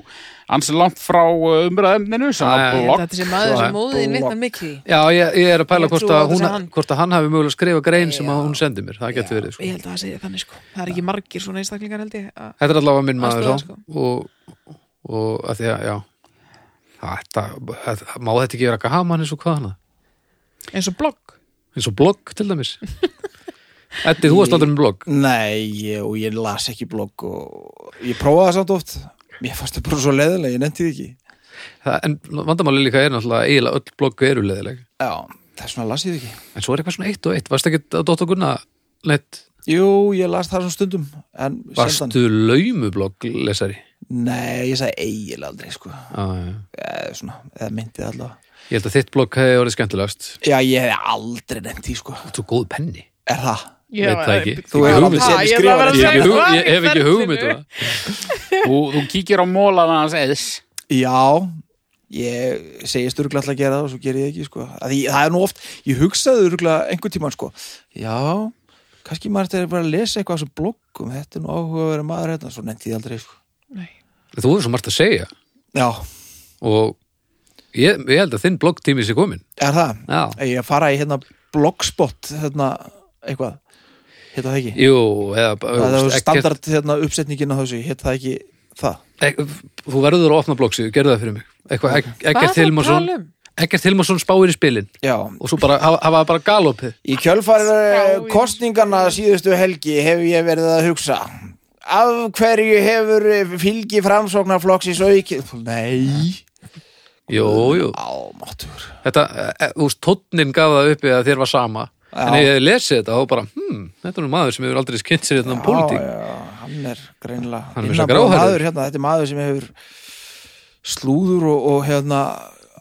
A: ansi langt frá uh, umræðemninu sem
B: Já,
A: að
B: já,
A: blogg
C: þetta sé maður
B: Svo
C: sem móðin
D: blogg.
C: vitnar mikið í.
B: Já, ég, ég er að pæla
C: Ég
B: hvort
C: trúi á
B: að,
C: þetta
B: hún,
C: sem hann.
B: hvort að hann hafi mögulega skrifa grein sem
C: Já.
B: að hún sendi mér, það getur verið sko.
C: ég held að það segja þannig sko það er ekki margir svona einstaklingar held ég að-
B: Þetta er allavega minn maður
C: Aðstoða,
B: sá, og, og að því að, já þetta, þetta, má þetta ekki vera að hafa hann eins og hvað hana
C: eins og blogg
B: eins og blogg til dæmis Eddi, þú varst aldrei með blogg
D: Nei, ég, og ég las ekki blogg og ég prófaði það samt oft Mér fannst það bara svo leiðilega, ég nefndi því ekki
B: Það- en vandamáli líka er náttúrulega eiginlega öll blogg eru leðileg
D: Já, þess vegna las ég því ekki
B: en svo er eitthvað svona eitt og eitt, varst ekki að Dóttar Gunna leitt,
D: Jú, ég las það svona stundum En sjaldan
B: varstu laumublogg lesari
D: Nei, ég sagði eiginlega aldrei sko
B: já, já.
D: eða svona, eða myndið allavega
B: Ég held að þitt blogg hefði orðið skemmtilegast
D: Já, ég hef aldrei nefnt því sko
B: Þú góð penni
D: Er það?
C: Ég
B: Veit
C: var-
B: það ekki.
D: Þú hefur aldrei séð
C: Ah,
D: mig
C: ég
D: skrifa
C: ætla að vera að
B: Ég
D: þetta.
B: hef ekki hug-
C: Hvað
B: ég hef ekki
C: í
B: hugmynd um
C: ferlinu?
B: það.
A: þú, þú kíkir á mólana hans eðs
D: Já, ég segist örgulega alltaf að gera það og svo ger ég það ekki sko að því, Það er nú oft, ég hugsaði örgulega einhvern tímann sko Já, kannski maður þetta er bara að lesa eitthvað á þessum bloggum Þetta er nú áhugaverið maður hérna, svo nefndi ég aldrei sko
C: Nei.
B: Þú hefur svo margt að segja
D: Já,
B: og ég, ég held að þinn blogg tími sé komin
D: er það?
B: Já.
D: Ég að fara í hérna blogspot, hérna, eitthvað Hérna það ekki?
B: Jú, eða
D: Það er
B: ekkert-
D: standard hérna uppsetningin á þessu, hérna það ekki það
B: Ek, þú verður að opna bloggsíðu, gerðu það fyrir mig eitthvað, okay.
C: Hvað
B: Ekkert
C: er það að
B: Hilmarsson
C: tala um?
B: Ekkert Hilmarsson spáir í spilin
D: Já,
B: og svo bara hafa, hafa bara galopið
D: Í kjölfar eh,
C: Skráin.
D: kostninganna síðustu helgi hef ég verið að hugsa Af hverju hefur eh, fylgi framsóknarflokksins aukið? Nei
B: Jú, jú,
D: Ámáttur
B: þetta, e, þú veist, tónnin gaf það uppi að þér var sama
D: Já.
B: en ef ég lesið þetta þá bara, hmm, þetta er nú maður sem hefur aldrei skynnt sér þetta um pólitík
D: Hann er greinilega
B: Hann er meira
D: innanbúinn
B: gráhærður.
D: maður hérna Þetta er maður sem hefur slúður og, og hérna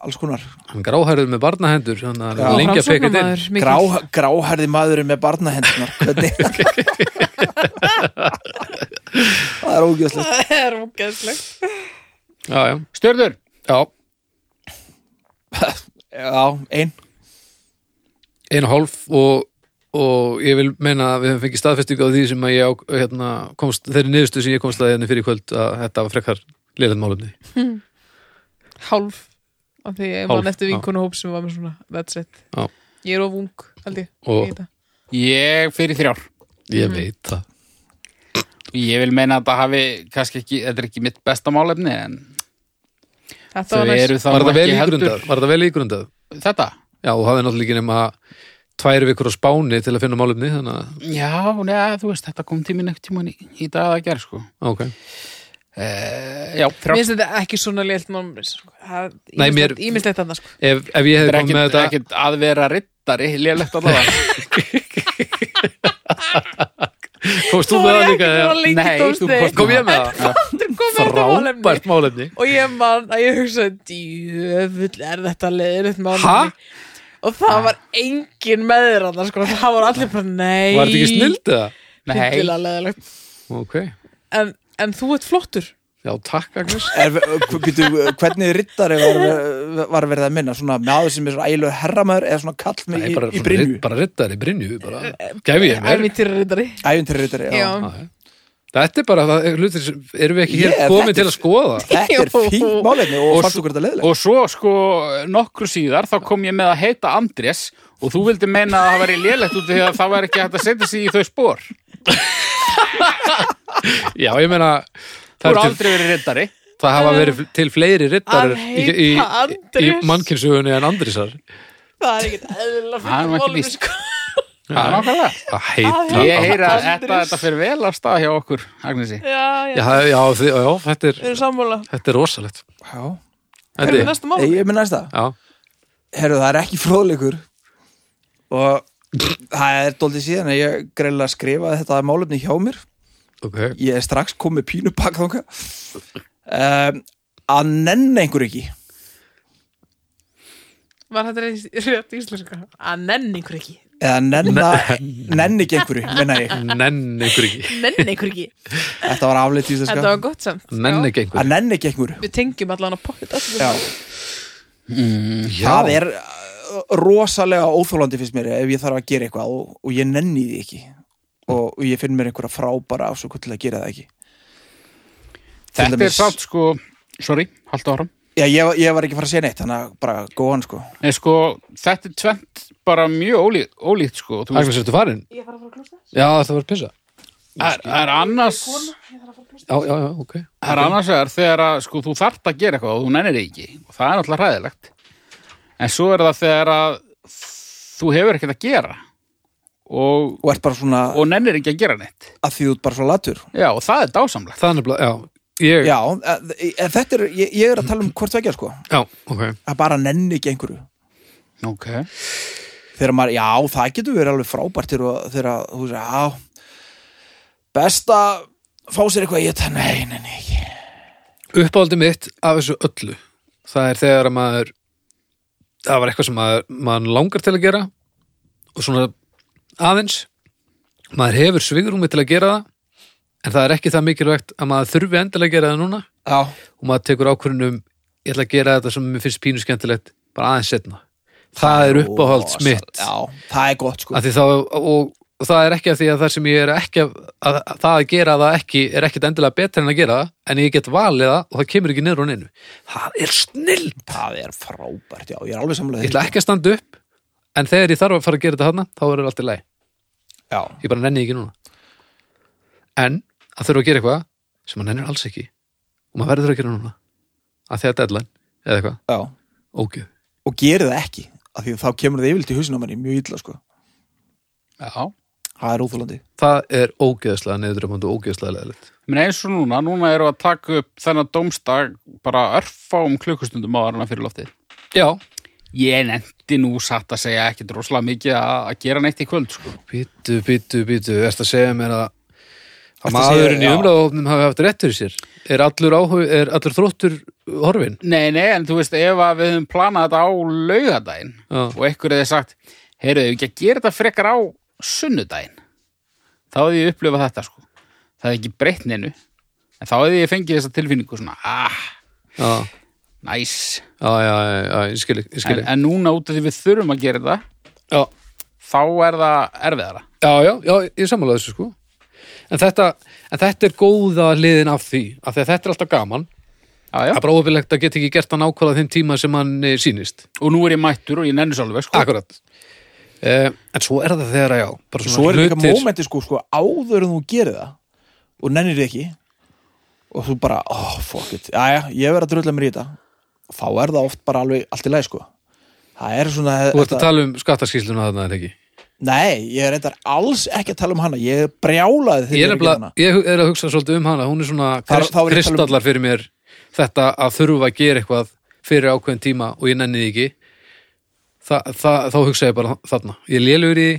D: alls konar
B: Hann gráhærður með barnahendur, þannig að
D: Já.
B: hann er lengi að peka þetta inn
C: Framsóknarmaður mikill.
D: Grá, Gráhærði maðurinn með barnahendunar Hvernig Það er ógjöfslegt
C: það er ógeðslegt
B: Já, já,
A: Stjörður,
B: já,
D: Já, ein
B: einu hálf og, og ég vil meina að við höfum fengið staðfestingu á því sem að ég á, hérna, komst, þeirri niðurstu sem ég komst að hérna fyrir í kvöld að þetta var frekar liðlega málumni
C: hálf af því ég
B: Hálf,
C: man eftir
B: já.
C: vinkonu hóp sem var með svona that's it
B: Já.
C: ég er of ung held ég
B: Og-
C: í þetta.
A: ég fyrir þrjár
B: Ég
A: Mhm.
B: veit það
A: ég vil meina að það hafi kannski ekki, þetta er ekki mitt besta málefni en
C: Þetta var
A: Þau
C: næst.
A: eru þá
B: Var
A: nú
B: þetta vel
A: ekki heldur
B: ígrundað? Var þetta vel ígrundað?
A: Þetta?
B: Já, þú hafði náttúrulega ekki nema tvær vikur á spáni til að finna málumni, þannig að,
A: Já, neða, þú veist, þetta kom tíminn ekkert tímann í, í dag að gera, sko.
B: ok.
A: Uh, já,
C: Mér
A: þrjá.
C: finnst þetta ekki svona lélt mánumis.
B: Nei, mér-
C: Ímislegt annars, sko.
B: Ef, ef ég hefði
A: Þetta er
B: komið með
A: ekkert
B: þetta,
A: ekkert að vera rittari, lélegt allavega.
B: komst þú með það líka? eða?
A: Nei, þú komst
B: Kom ég með það?
C: það.
B: Frábært málumni.
C: og ég man að ég hugsaði djöfull er þetta leiðinett
B: Ha?
C: málumni og það var engin meðir annars sko, það var allir bara nei
B: Var þetta ekki snild eða?
A: Nei,
C: hryllilega leiðilegt
B: Ok.
C: en, en þú ert flottur
B: Já, takk Agnes.
D: Er, hv- býtu, hvernig rittari var, var verið að minna svona maður sem er svona ægilegur herramæður eða svona kall með
B: Nei,
D: í,
B: bara,
D: í brinju
B: bara riddar í brinju, bara
A: Eh,
B: gæfi ég mér.
C: ævintýrarittari
D: ævintir rittari, já.
C: Já.
B: Já, já. Þetta er bara, það er hlutir sem, erum við ekki
D: Ég-
B: hér komið
D: þetta
B: til
D: er-
B: að skoða?
D: þetta er
C: Jú.
D: fínt málefni og,
A: Og
D: fannst
A: svo-
D: okkur þetta leðilega
A: og svo sko nokkru síðar þá kom ég með að heita Andrés og þú vildi meina að það væri lélegt út af því að það væri ekki hægt að setja sig í þau spór.
B: Já, ég meina,
A: Þú
B: það,
A: eru
B: er til,
A: aldrei verið rittari.
B: það hafa verið til fleiri riddarar
C: Að
B: í,
C: heita
B: í, í
C: Andrés.
B: mannkynsugunni en Andrísar.
C: það er ekkert eðlilega
A: Það er nú ekki
C: málefni,
A: víst.
C: sko.
A: Það er nákvæmlega.
B: Að heita
A: Ég heyra að
B: Andrés.
A: þetta, þetta fyrir vel af stað hjá okkur, Agnesi.
C: já, já,
B: Já, það- já, þið- já, þetta
C: við
B: er,
C: erum sammála
B: þetta er rosalegt.
D: já,
C: erum við
B: Þetta er,
C: næsta mál
D: Ei, ég minn næsta
B: já,
D: herru, það er ekki fróðleikur og það er dóldi síðan að ég greiðlega skrifaði þetta málefni hjá mér
B: ok.
D: ég er strax komið með pínupakk þanga um, að nenn einhver ekki
C: var þetta rétt- rétt íslenska að nenni ykkur ekki
D: eða nenna, nenn ekki einhverju menna ég,
B: Nenn ykkur ekki.
C: nenni ykkur ekki
D: þetta var afleitt í
C: þetta
D: þessu
C: var gott samt
B: Nenn
C: Já.
B: ekki
D: að
B: einhver.
D: nenn ekki einhverju
C: við tengjum allan að pocket
D: já,
B: Já.
D: það er uh, rosalega óþólandi fyrst mér ef ég þarf að gera eitthvað og, og ég nenni því ekki og, og ég finn mér einhverja frábæra ásöku til að gera það ekki Til
A: Þetta
D: dæmis-
A: er samt sko, sorry, halda áram.
D: Já, ég, var- ég var ekki að fara að segja neitt, þannig að bara góðan sko
A: Nei sko, þetta er tvent bara mjög ólíkt, ólíkt sko. Þú veist,
B: Agnes, ertu farin?
C: ég fara að fara að klústa
B: Já, það var pissa.
A: það er- það er annars,
B: Já, já, já, ok.
A: það er annars vegar þegar að sko þú þart að gera eitthvað og þú nennir því ekki og það er náttúrulega hræðilegt. En svo er það þegar að þú hefur ekkert að gera og,
D: og ert bara svona,
A: og nennir ekki að gera neitt.
D: að því þú ert bara svona latur
A: Já, og það er dásamlegt.
B: Það er nefnilega, já, ég,
D: Já, að, að þetta er, ég, ég er að tala um hvort vekja sko
B: já, ok.
D: að bara nenni ekki einhverju
A: Ok.
D: þegar maður, já, það getur verið alveg frábært þegar, þegar að, þú veist, já best að fá sér eitthvað að geta, nei, nei, nei ekki.
B: uppáldið mitt af þessu öllu það er þegar að maður það var eitthvað sem maður, maður langar til að gera og svona aðeins maður hefur svigrúmi til að gera það en það er ekki það mikilvægt að maður þurfi endilega að gera það núna
D: Já,
B: og maður tekur ákvörunum ég ætla að gera þetta sem mér finnst pínu skemmtilegt bara aðeins setna það er uppáhalds
D: rosa-
B: mitt
D: Já, það er gott sko
B: Af því þá, og, og það er ekki að því að það sem ég er ekki að, að, að það að gera það ekki er ekkit endilega betra en að gera það en ég get valið það og það kemur ekki niður og neinu það er snill
D: Það er frábært, já, ég er alveg
B: ég
D: samlega
B: ætla ekki að standa upp en þegar ég þarf að fara að gera þetta hana þá verður allt í lagi
D: Já,
B: ég bara nenni ekki núna en að þurfa að gera eitthvað sem maður nennir alls ekki og maður verður að gera núna að því að deadline eða eitthvað
D: já,
B: ógjöf
D: og geri það ekki af því þá kemur það yfirleitt í hausinn á manni mjög illa sko
A: Já.
D: Það er óþólandi
B: það er ógeðslega neðurdröfandi og ógeðslega leðilegt
A: Men eins og núna, núna eru að taka upp þennan dómstag bara örfáum klukkustundum á aðrana fyrir loftið.
B: já,
A: Ég nefndi nú satt að segja ekkit rosalega mikið að að gera neitt í kvöld, sko.
B: býtu, býtu, býtu erst að segja mér að
D: Ertu að
B: að maðurinn í
D: segja- já.
B: umræðahofnum hafi haft rétt fyrir sér er allur, áhug, er allur þróttur horfin
A: Nei, nei, en þú veist, ef að við höfum planað þetta á laugadaginn
B: Já.
A: og einhver hefði sagt, heyrðu, ef ekki að gera þetta frekar á sunnudaginn, þá hefði ég upplifað þetta, sko. Það hefði ekki breytt neinu, en þá hefði ég fengið þessa tilfinningu svona, ah,
B: já,
A: næs. Nice.
B: já, já, já, já, ég skil ég skil
A: En, en núna út af því við þurfum að gera þetta,
B: já,
A: þá er það erfiðara.
B: já, já, já, ég sammála þessu sko en þetta, en þetta er góða liðin af því af því að þetta er alltaf gaman
A: Já, já.
B: að bráðubilegt að geta ekki gert hann ákvæða þeim tíma sem hann eh, sýnist
A: og nú er ég mættur og ég nenni svo alveg sko.
B: akkurat eh, en svo er það þegar að já bara
D: Svo
B: svona
D: er líka
B: hlutir
D: mómenti sko, sko áður en þú gerir það og nennir því ekki og þú bara, oh fuck it, aðja, ég verð að drulla mér í þetta þá er það oft bara alveg allt í læg sko það er svona
B: Þú ert að tala um skattaskýsluna þarna, er ekki?
D: nei, ég er reyndar alls ekki að tala um hana ég er brjálaði
B: Ég er,
D: þegar ég gerði
B: nefnilega, ég er að hugsa svolítið um hana, hún er svona
D: Þar-
B: krist,
D: þá er ég að tala um-
B: kristallar fyrir mér þetta að þurfa að gera eitthvað fyrir ákveðin tíma og ég nenni því ekki Þa, það, þá hugsa ég bara þarna ég er lélugur í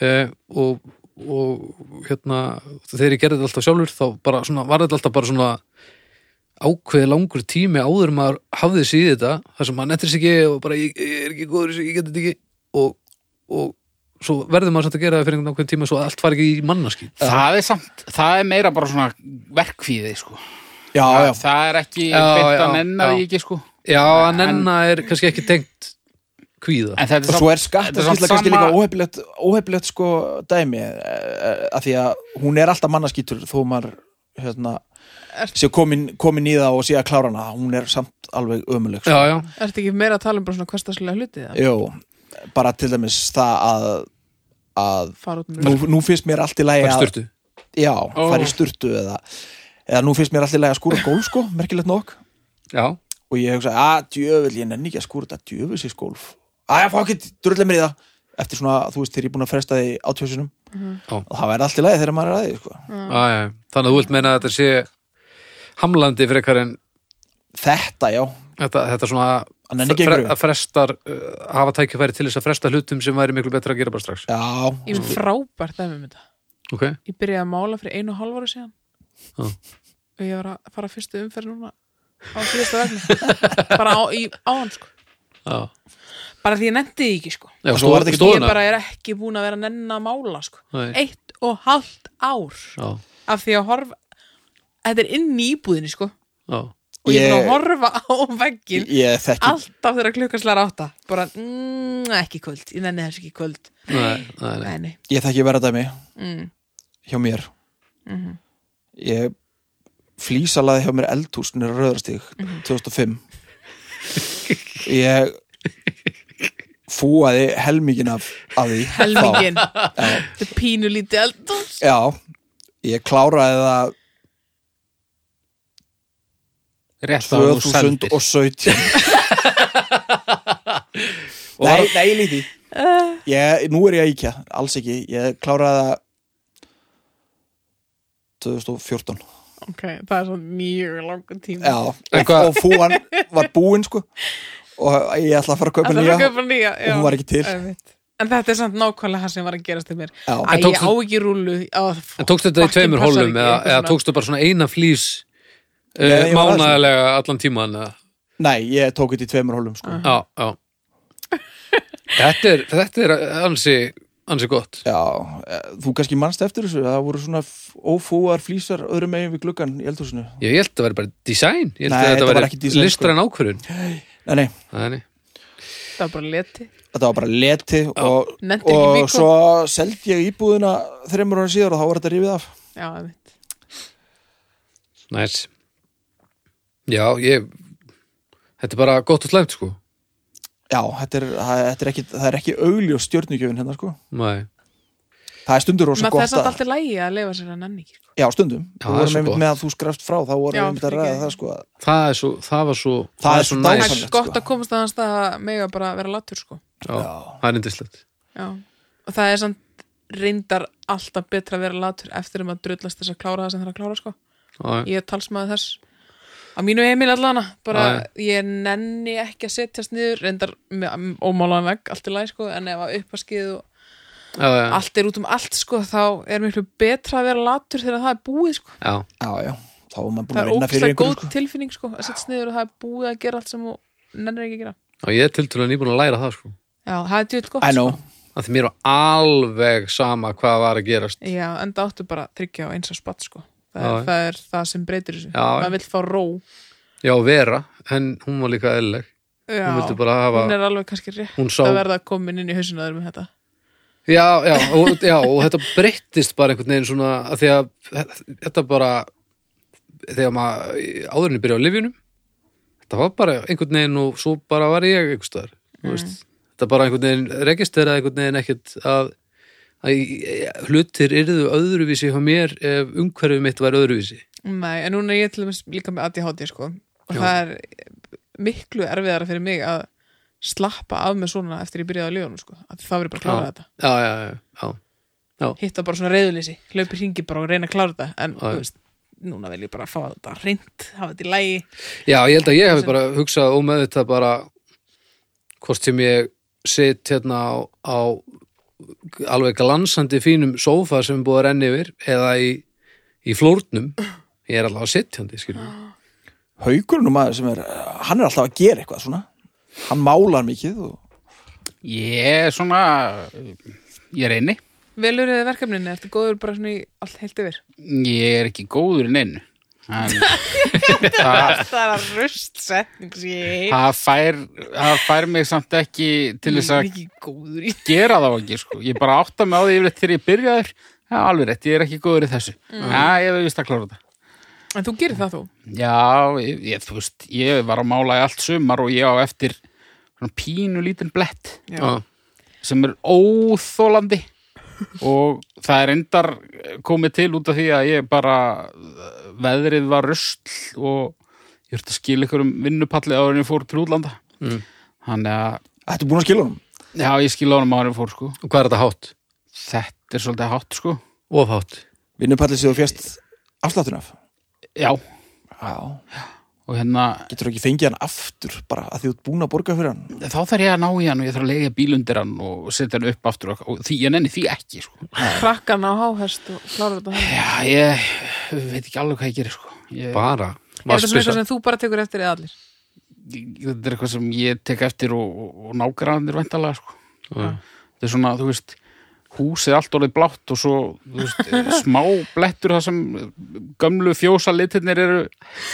B: því eh, og, og hérna þegar ég gerði þetta alltaf sjálfur þá bara svona, var þetta alltaf bara svona ákveði langur tími áður en maður hafði síði þetta þar sem maður nettir sig ekki og bara ég, ég er ekki góður í þessu, ég get þetta ekki og, og svo verður maður samt að gera það fyrir einhvern ákveðin tíma svo að allt fari ekki í mannaskýt
A: það er samt, það er meira bara svona verkfíði sko
D: já, já,
A: það, það er ekki
B: Já,
A: beint
B: já,
A: að nenna
B: já.
A: því ekki sko
B: Já, að
A: En-
B: nenna er kannski ekki tengt kvíða.
A: en þetta
D: og
A: er
D: svo
A: samt,
D: er skattaskýsla
A: þetta er samt
D: kannski líka
A: sama-
D: óhefilegt, óhefilegt sko dæmi að því að hún er alltaf mannaskýtur þó maður hérna,
C: Ert-
D: sé komin, komin í það og sé að klára hana hún er samt alveg ömuleg sko.
B: Já, já,
C: Ertu ekki meira að tala um bara svona hverstaslega hluti það?
D: Jú, bara til dæmis það að, að
C: Fara út um
D: nú, nú finnst mér allt í lagi
B: bara
D: að
B: styrtu.
D: já, fara í sturtu eða, eða nú finnst mér allt í lagi að skúra gólf sko, merkilegt nokk
B: Já,
D: og ég hugsa, að djöfull, ég nenni ekki að skúra þetta "Ah, djöfullsins gólf að ég fá ekki, drullu mér í það eftir svona, þú veist, þegar ég er búin að fresta því átjóðsunum
B: Já.
D: og það væri allt í lagi þegar maður er að því sko.
B: já, já. Þannig að þú vilt meina að þetta sé hamlandi frekar en
D: þetta, já,
B: þetta, þetta
D: Að
B: svona
D: nenni ekki einhverju.
B: að frestar, uh, hafa tækifæri til þess að fresta hlutum sem væri miklu betra að gera bara strax.
D: já
C: Ég finn frábært dæmi um þetta
B: Ok,
C: Ég byrjaði að mála fyrir einu og hálf ára síðan
B: Já.
C: og ég var að fara fyrstu umferð núna á síðasta vegna bara á, í, á hann sko
B: já.
C: bara því ég nefndi því ekki sko
B: Já,
D: Og svo var þetta ekki
C: ég
B: stóðuna.
C: bara er ekki búin að vera að nenna að mála sko
B: Nei.
C: eitt og halvt ár
B: Já,
C: af því að horfa þetta er inn í íbúðinni sko og
B: já.
C: ég er
D: Ég-
C: að horfa á veggin
D: ég, ég þekki
C: alltaf þegar klukkan slar átta bara mm, ekki í kvöld, ég nenni þess ekki í kvöld
B: Nei, nei, nei.
C: nei, nei.
D: ég þekki vera dæmi
C: Mm.
D: hjá mér ég flýsalaði hjá mér eldhús nýra röðrastík 2005 ég fúaði helmingin af, af því þá.
C: helmingin þetta er pínu lítið eldhús
D: já, ég kláraði það
A: rétt að þú sendir
D: 2017 Nei, nei, líti Eh. ég, Nú er ég að íkja, alls ekki Ég kláraði það 2014
C: ok, það er svona mjög langan tíma
D: Já,
B: En
D: og,
B: hvað-
D: og fúan var búinn sko og ég ætla að fara að kaupa
C: það er
D: nýja
C: að köpa nýja já.
D: og hún var ekki til
C: Einmitt. en þetta er samt nákvæmlega það sem var að gerast til mér
D: Já.
C: að
B: En
C: ég
B: tókstu-
C: á ekki rúlu
B: En tókstu þetta í tveimur hólum eða, eða tókstu bara svona eina flýs uh,
D: Nei, ég var aðeins-
B: mánaðarlega allan tíman eða?
D: Nei, ég tók þetta í tveimur hólum sko
B: Já, já. Þetta er, þetta er ansi, ansi gott.
D: Já, e, þú kannski manst eftir þessu það voru svona f- ófúar flýsar öðrum megin við gluggan í eldhúsinu
B: Ég, ég held að það væri bara design. Ég held
D: Nei,
B: að
D: þetta
B: þetta
D: var
B: væri
D: ekki design, sko.
B: listræn ákvörðun.
D: Nei, nei,
B: Nei, nei.
C: það var bara leti
D: þetta var bara leti og,
C: Nennti ekki
D: og
C: bíkó.
D: svo seldi ég íbúðina þreimur ára síðar og þá var þetta rifið af
C: já, einmitt.
B: Næs. Já, ég... Þetta er bara gott og slæmt, sko.
D: Já, þetta er, það, þetta er ekki, það er ekki augljós stjörnugjöfin hérna sko
B: Nei.
D: Það er stundur rosa
C: Maður- það er
D: gott
C: samt
D: að
C: alltaf lægi að leifa sér að nanni ekki sko.
D: Já, stundum,
B: Já,
D: þú
B: það er
D: vorum
B: svo
D: einmitt
B: gott.
D: með að þú skrafst frá þá vorum
C: Já,
D: einmitt að ræða
C: fyrirgefðu.
D: það sko
B: Það, er svo, það var svo...
D: Það er svo
C: það
D: Dásamlegt,
C: er
D: sko.
C: gott að komast að hans það að mega bara vera latur sko.
B: Já, það er indislegt.
C: já. og það er samt reyndar alltaf betra að vera latur eftir um að drullast þess að klára það sem það er að klára sko.
B: Já,
C: ég er talsmaður þess á mínu heimil allana bara
B: Já,
C: ég nenni ekki að setjast niður reyndar með ómálaðan vegg allt í lagi sko, en ef að uppaskið og
B: já, já.
C: allt er út um allt sko, þá er miklu betra að vera latur þegar það er búið sko.
B: já.
D: Já, já, þá er maður búin
C: það
D: að
C: er
D: vinna fyrir
C: ógstlega
D: einhverju
C: góð
D: sko.
C: tilfinning sko, að setjast niður og það er búið að gera allt sem þú nennir ekki að gera
B: Já, ég er tiltölu nýbúin að læra það, sko.
C: já, það er djúll gott
D: I know,
C: sko.
B: Af því mér var alveg sama hvað var að gerast.
C: já, en það áttu bara að tryggja á eins að spatt sko. það,
B: Já,
C: er, það er það sem breytir þessu
B: Já, já.
C: maður vill fá ró
B: Já, Vera, en hún var líka eðlileg.
C: já,
B: Hún vildi bara hafa...
C: hún er alveg kannski rétt
B: Hún sá-
C: að verða komin inn í hausinaður með þetta
B: Já, já og, já, og þetta breyttist bara einhvern veginn svona að því að þetta bara þegar maður áðurinn byrja á lifjunum þetta var bara einhvern veginn og svo bara var ég einhvers staðar þú veist, þetta bara einhvern veginn registeraði einhvern veginn ekkert að, að ég- hlutir yrðu öðruvísi hjá mér ef umhverfið mitt var öðruvísi
C: Nei, en núna er ég til dæmis líka með ADHD sko og það er miklu erfiðara fyrir mig að slappa af með svona eftir ég byrjaði að ljónu sko. Af því það verið bara að klára
B: Já.
C: þetta
B: já, já, já, já.
C: hitta bara svona reyðuleysi, hlaupi hringi bara og reyna að klára þetta en
B: Já.
C: þú veist, núna vil ég bara fá þetta reynd, hafa þetta í lægi
B: Já, ég held að ég hefði
C: Sem-
B: bara hugsað ómeð þetta bara hvort sem ég sitt hérna á, á alveg glansandi fínum sófa sem er búið að renna yfir eða í, í flórnum ég er allavega sittjandi, skiljum
D: Haukurinn og maður sem er, hann er alltaf að gera eitthvað svona Hann málar mikið og
A: Ég er svona Ég er einni
C: velur þið verkefninu, ertu góður bara svona í allt heilt yfir
A: Ég er ekki góður en einu en
C: það er að rust setning sem ég
A: það fær, það fær mig samt ekki til þess að
C: ekki góður í
A: gera það ekki sko. ég bara átta mig á því yfirleitt þegar ég byrjaður það er alveg rétt, ég er ekki góður í þessu mm. já, ég veist að klára þetta
C: en þú gerir það þú
A: já, ég, ég, þú veist, ég var að mála í allt sumar og ég á eftir svona pínu lítinn blett
B: Ah,
C: Já.
A: sem er óþólandi og það er endar komið til út af því að ég bara veðrið var rusl og ég þurfti að skila ykkur um vinnupalli áður en ég fór til útlanda
B: Mm.
A: þannig að,
D: Þetta er búin að skila honum
A: já ég skila honum áður en ég fór sko
B: Og hvað er þetta hátt?
A: þetta er svolítið hátt sko
B: Of hátt
D: Vinnupallið sem þú fjast afsláttun af
A: já,
D: Já,
A: og hérna
D: getur ekki fengið hann aftur bara að því þú ert búin að borga fyrir hann
A: þá þarf ég að ná í hann og ég þarf að leiðja bíl undir hann og setja hann upp aftur og, og því, ég nenni því ekki sko
C: krakkan á háhest og klára þetta hann
A: já, ég veit ekki alveg hvað ég gerir sko ég,
B: Bara
C: er þetta svona
B: vatnsbyssa.
C: eitthvað sem þú bara tekur eftir eða allir
A: ég- þetta er eitthvað sem ég tek eftir og, og, og nágræðanir væntalega sko.
B: Já.
A: þetta er svona, þú veist húsið er allt orðið blátt og svo þú veist, smá blettur það sem gömlu fjósa litirnir eru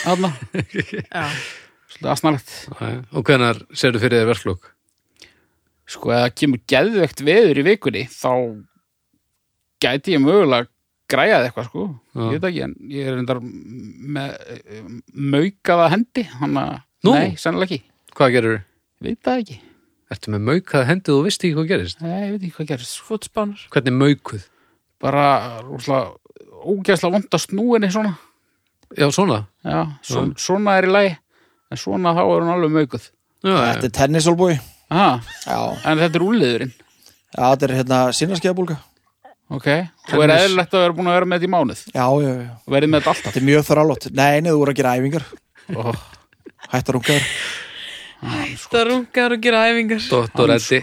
A: aðna,
C: já,
A: svolítið aðsnarlegt
B: Já, já. Eh, Og hvenær serðu fyrir þér verkflók?
A: sko, ef það kemur geðvegt veður í vikunni þá gæti ég mögulega græjað eitthvað sko,
B: Já.
A: ég veit ekki en ég er endar með maukaða hendi, hann að
B: Nú.
A: nei, sennilega ekki,
B: Hvað gerirðu?
A: veit það ekki
B: Ertu með maukað hendið og þú veist ekki hvað gerist?
A: nei, ég veit ekki hvað gerist sko.
C: fótspánar
B: Hvernig maukuð?
A: bara rosalega ógeðslega vond að snúinni svona
B: Já, svona
A: já, svona, svona er í lagi en svona þá er hún alveg möguð
B: Já, já,
D: Þetta er tennisolbúi Já,
A: Aha,
D: já
A: en þetta er úliðurinn
D: þetta er hérna sinarskeiðabólga
A: ok, þú er
B: Tennis.
A: eðlilegt að vera búin að vera með þetta í mánuð
D: Já, já, já
A: og verið með þetta alltaf
D: Þetta er mjög þrálótt Nei, neðu voru að gera æfingar
A: oh,
D: Hættar ungar
C: það rungar og gera æfingar
B: Dóttor Eddi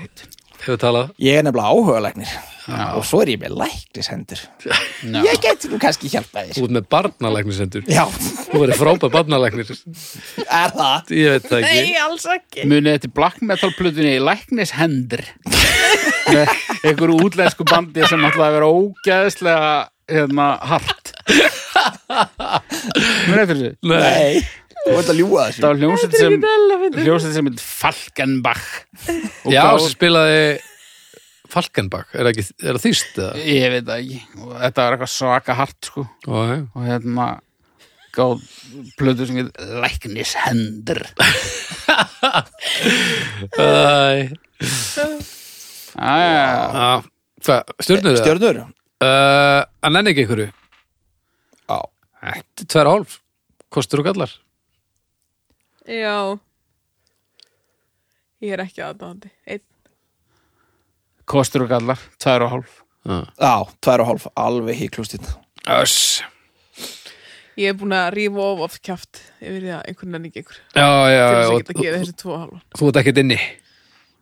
B: Hefur talað
D: Ég er nefnilega áhugalegnir
A: Já.
D: Og svo er ég með læknishendur
A: no.
D: Ég geti nú kannski hjálpað þér
B: Út með barnalæknisendur
D: Já,
B: Þú verður frábæð barnalæknir
D: er það
B: Ég veit það ekki
C: nei, alls ekki
A: munið þetta í black metal plutunni í læknishendur með einhverju útlensku bandi sem ætlaði að vera ógeðslega hérna, hart munið þetta þessu
B: Nei,
D: Nei, þú ert að ljúga
A: þetta
D: þessu
A: var hljómsveit sem hljómsveit sem heitir Falkenbach Og
B: já,
A: gáfu-
B: sem spilaði Falkenbach, er það ekki, er það þýst eða?
A: Ég veit það ekki og þetta var eitthvað svaka hart sko
B: Ó, já.
A: og hérna gáð plötu sem heit Læknishendur
B: Æ,
A: Æja,
B: á, Ah, Hvað, stjórnur það?
D: Stjörnur
B: Uh, að nenni ekki ykkur
D: Já.
B: Þetta er tver hálf, kostur og gallar
C: já ég er ekki aðdáðandi einn
A: kostur og gallar, tvær og hálf
B: Ah.
D: Já, tvær og hálf, alveg híklust hérna
B: Öss
C: Ég er búin að rífa of of kjaft yfir því að einhvern enn ekki ykkur til
B: Já, já, já,
C: þess að
B: og,
C: geta að gera þessi tvo hálfa
B: þú ert ekkert inni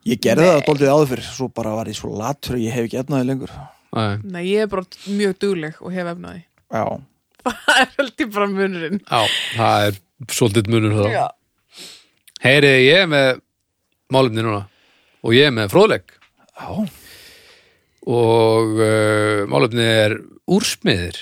D: Ég gerði það dóldið áður fyrir Svo bara var ég svo latur að ég hef ekki efnaði lengur
B: Æ,
C: Nei, ég er bara mjög dugleg og hef efnaði
D: Já,
C: Það er heldur bara munurinn
B: Já, það er svolítið munur þá
C: Já,
B: Heyri, ég er með málumni núna og ég er með fróðleik
D: já,
B: og uh, málumni er úrsmiðir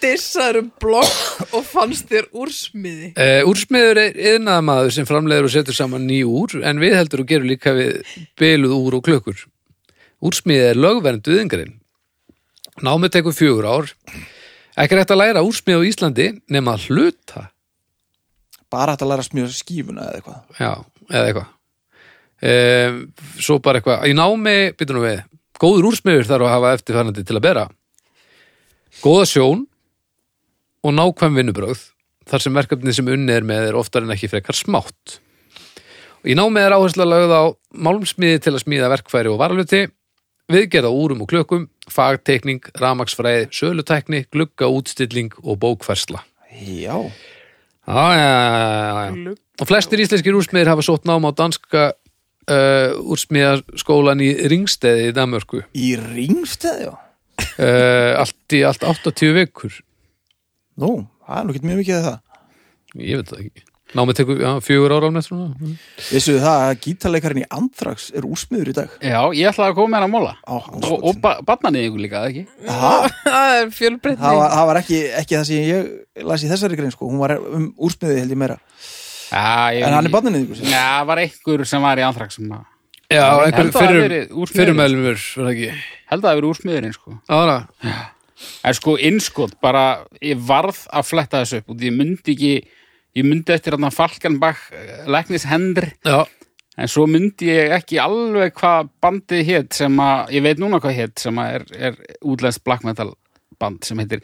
C: dissaður um blokk og fannst þér úrsmiði
B: uh, Úrsmiður er yðnaðamaður sem framleiður og setur saman ný úr en við heldur og gerur líka við byluð úr og klukkur Úrsmiðið er lögvernd yðingarinn Námið tekur fjögur ár Ekki er hægt að læra úrsmið á Íslandi nema að hluta
D: bara hægt að læra að smíða skífuna eða eitthvað
B: Já, eða eitthvað ehm, Svo bara eitthvað Í námi, býtum nú við Góður úrsmiður þarf að hafa eftirfarnandi til að bera Góða sjón og nákvæm vinnubrögð þar sem verkefnið sem unni er með er oftar en ekki frekar smátt. Í námið er áhersla lögð á málmsmiði til að smíða verkfæri og varaluti, viðgerða úrum og klökum, fagtekning, ramaksfræði, sölutækni, gluggaútstilling og bókfærsla.
D: Já,
B: Já, já, já, já, já. Og flestir íslenskir úrsmiðir hafa sótt nám á danska uh, úrsmiðaskólan í Ringsteði í Danmörku.
D: í ringstæði já.
B: Uh, allt í allt 80 vikur.
D: Nú, það er nú getur mjög mikið að það
B: Ég veit það ekki. Námið tekur já, fjögur ára almennt svona. Mm.
D: Vissuðu það að gítarleikarinn í Andrax er úrsmiður í dag
A: Já, ég ætlaði að koma með hann að móla
D: Á, sko, hann
A: Og, og ba batnanið ykkur líka, eða ekki?
D: það,
C: það er fjölbreytni
D: það var, það var ekki, ekki það sem ég las í þessari grein sko. hún var um úrsmiði held ég meira
A: Já, ég...
D: en hann er sko. barninni ykkur
A: Já, það var einhver sem var í anþrak sem að...
B: Já,
A: Held
B: einhver
A: að það hafi verið
B: fyrrum,
A: úrsmiður.
B: fyrrum meðlumur, var það ekki?
A: Held að það hafi verið úrsmiðurinn, sko.
B: Ára.
A: En sko, innskot, bara, ég varð að fletta þessu upp og ég myndi ekki, ég myndi eftir hann að Falkenbach, Læknis Hendr,
B: Já,
A: en svo myndi ég ekki alveg hvað bandið hétt sem að, ég veit núna hvað hétt sem að er, er útlenskt black metal band sem heitir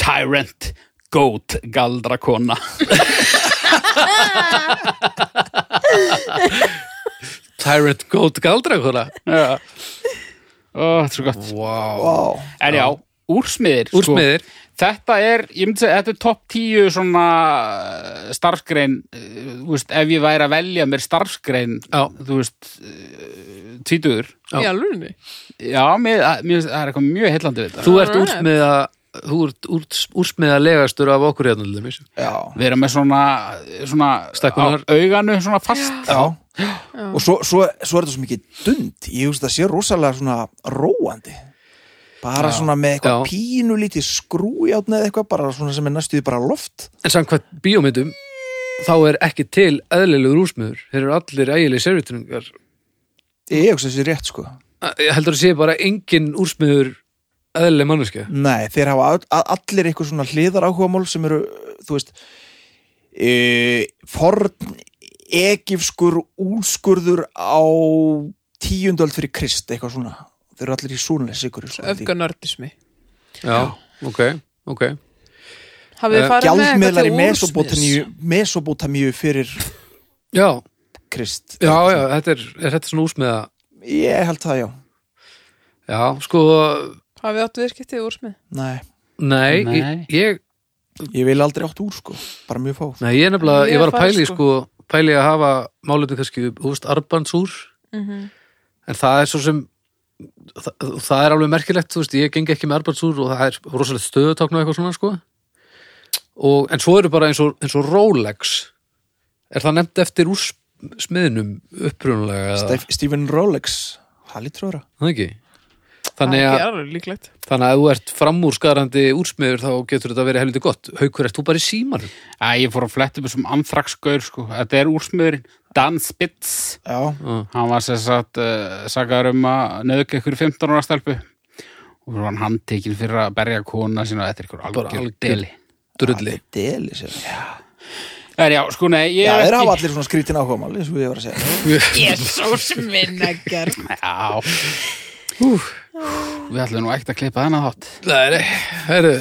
A: Tyrant Goat Galdrakona.
B: Tyrant Goat Galdra, hvora?
A: Já. Ó, þetta er svo gott.
B: Vá.
D: wow.
A: En já, úrsmiðir.
B: Úrsmiðir.
A: Sko, þetta er, ég myndi segja, þetta er topp 10 svona eh, starfsgrein, eh, þú veist, ef ég væri að velja mér starfsgrein,
B: Já.
A: þú veist, eh, tvítugur.
B: Já.
C: í alvörunni
A: Já, mér, að- mér, það er eitthvað mjög heillandi við þetta.
B: Þú ert
C: Alright.
B: úrsmiða, þú ert úrs, úrsmiða legastur af okkur hérna, lillum, eins og.
D: já,
A: Við erum með svona, svona
B: Stakkunar.
A: á auganu svona fast.
D: já. og svo, svo, svo er þetta svo mikið dund ég hugst að það sé rosalega svona róandi bara svona með eitthvað
B: Já.
D: pínulítið skrújátn eða eitthvað bara svona sem er næstuði bara loft
B: En samkvæmt bíómyndum, þá er ekki til eðlilegur úrsmiður. Þeir eru allir ægileg servitringar.
D: ég hugst að það sé rétt sko
B: Ég heldur að sé bara engin úrsmiður eðlileg manneskja.
D: Nei, þeir hafa all- a- allir eitthvað svona hliðar áhugamál sem eru, þú veist e, forn ekifskur úlskurður á tíundöld fyrir krist, eitthvað svona þeir eru allir í súnleis ykkur
C: öfganördismi
B: Já, ok, ok.
C: hafið
B: Eh,
C: þið farið með
D: gjaldmiðlar
C: eitthvað
D: í
C: til
D: Mesopotamíu, Mesopotamíu fyrir
B: Já,
D: krist
B: já, já, þetta er, er þetta svona úrsmiða.
D: Ég held það, já
B: Já, sko,
C: hafið áttu viðskiptið úrsmið
D: Nei,
B: nei,
A: Nei.
B: Ég, ég,
D: ég vil aldrei átt úr, sko bara mjög fá
B: nei, ég er nefnilega,
C: Ég
B: ég var að
C: fæ,
B: pæli,
C: sko.
B: sko, pæli að hafa málefni kannski, þú veist, arbandsúr,
C: Mhm.
B: en það er svo sem, það, það er alveg merkilegt, þú veist, ég gengi ekki með arbandsúr og það er rosalega stöðutákn og eitthvað svona, sko. Og, en svo eru bara eins og, eins og Rolex, er það nefnt eftir úr smiðnum upprunalega? eða-
D: Stef- Stephen Rolex, það lítur að vera
B: Það ekki?
C: það
B: Þannig
C: er
B: að
C: ekki alveg líklegt
B: Þannig að ef þú ert framúrskarandi úrsmiður þá getur þetta verið helviti gott. Haukur, ert þú bara í símar?
A: Æ, ég fór að fletta upp þessum anþraksgaur, sko. Þetta er úrsmiðurinn. Dan Spitz.
D: Já,
A: hann var sem sagt uh, sagaður um að nöðka ykkur 15 ára stelpu og svo var hann handtekinn fyrir að berja kona sína þetta er ykkur
B: Bara
A: algjör
B: algjör.
A: deli
B: Drulli.
D: deli sér Já,
A: Það er já, sko nei, ég
D: þeir
A: er
D: hafa
A: ekki
D: allir svona skrítin áhugamál, eins og ég var að segja
C: jesús minnegar
A: Já Við ætlum nú ekkert að klippa þennan þátt
B: Nei, nei, herru.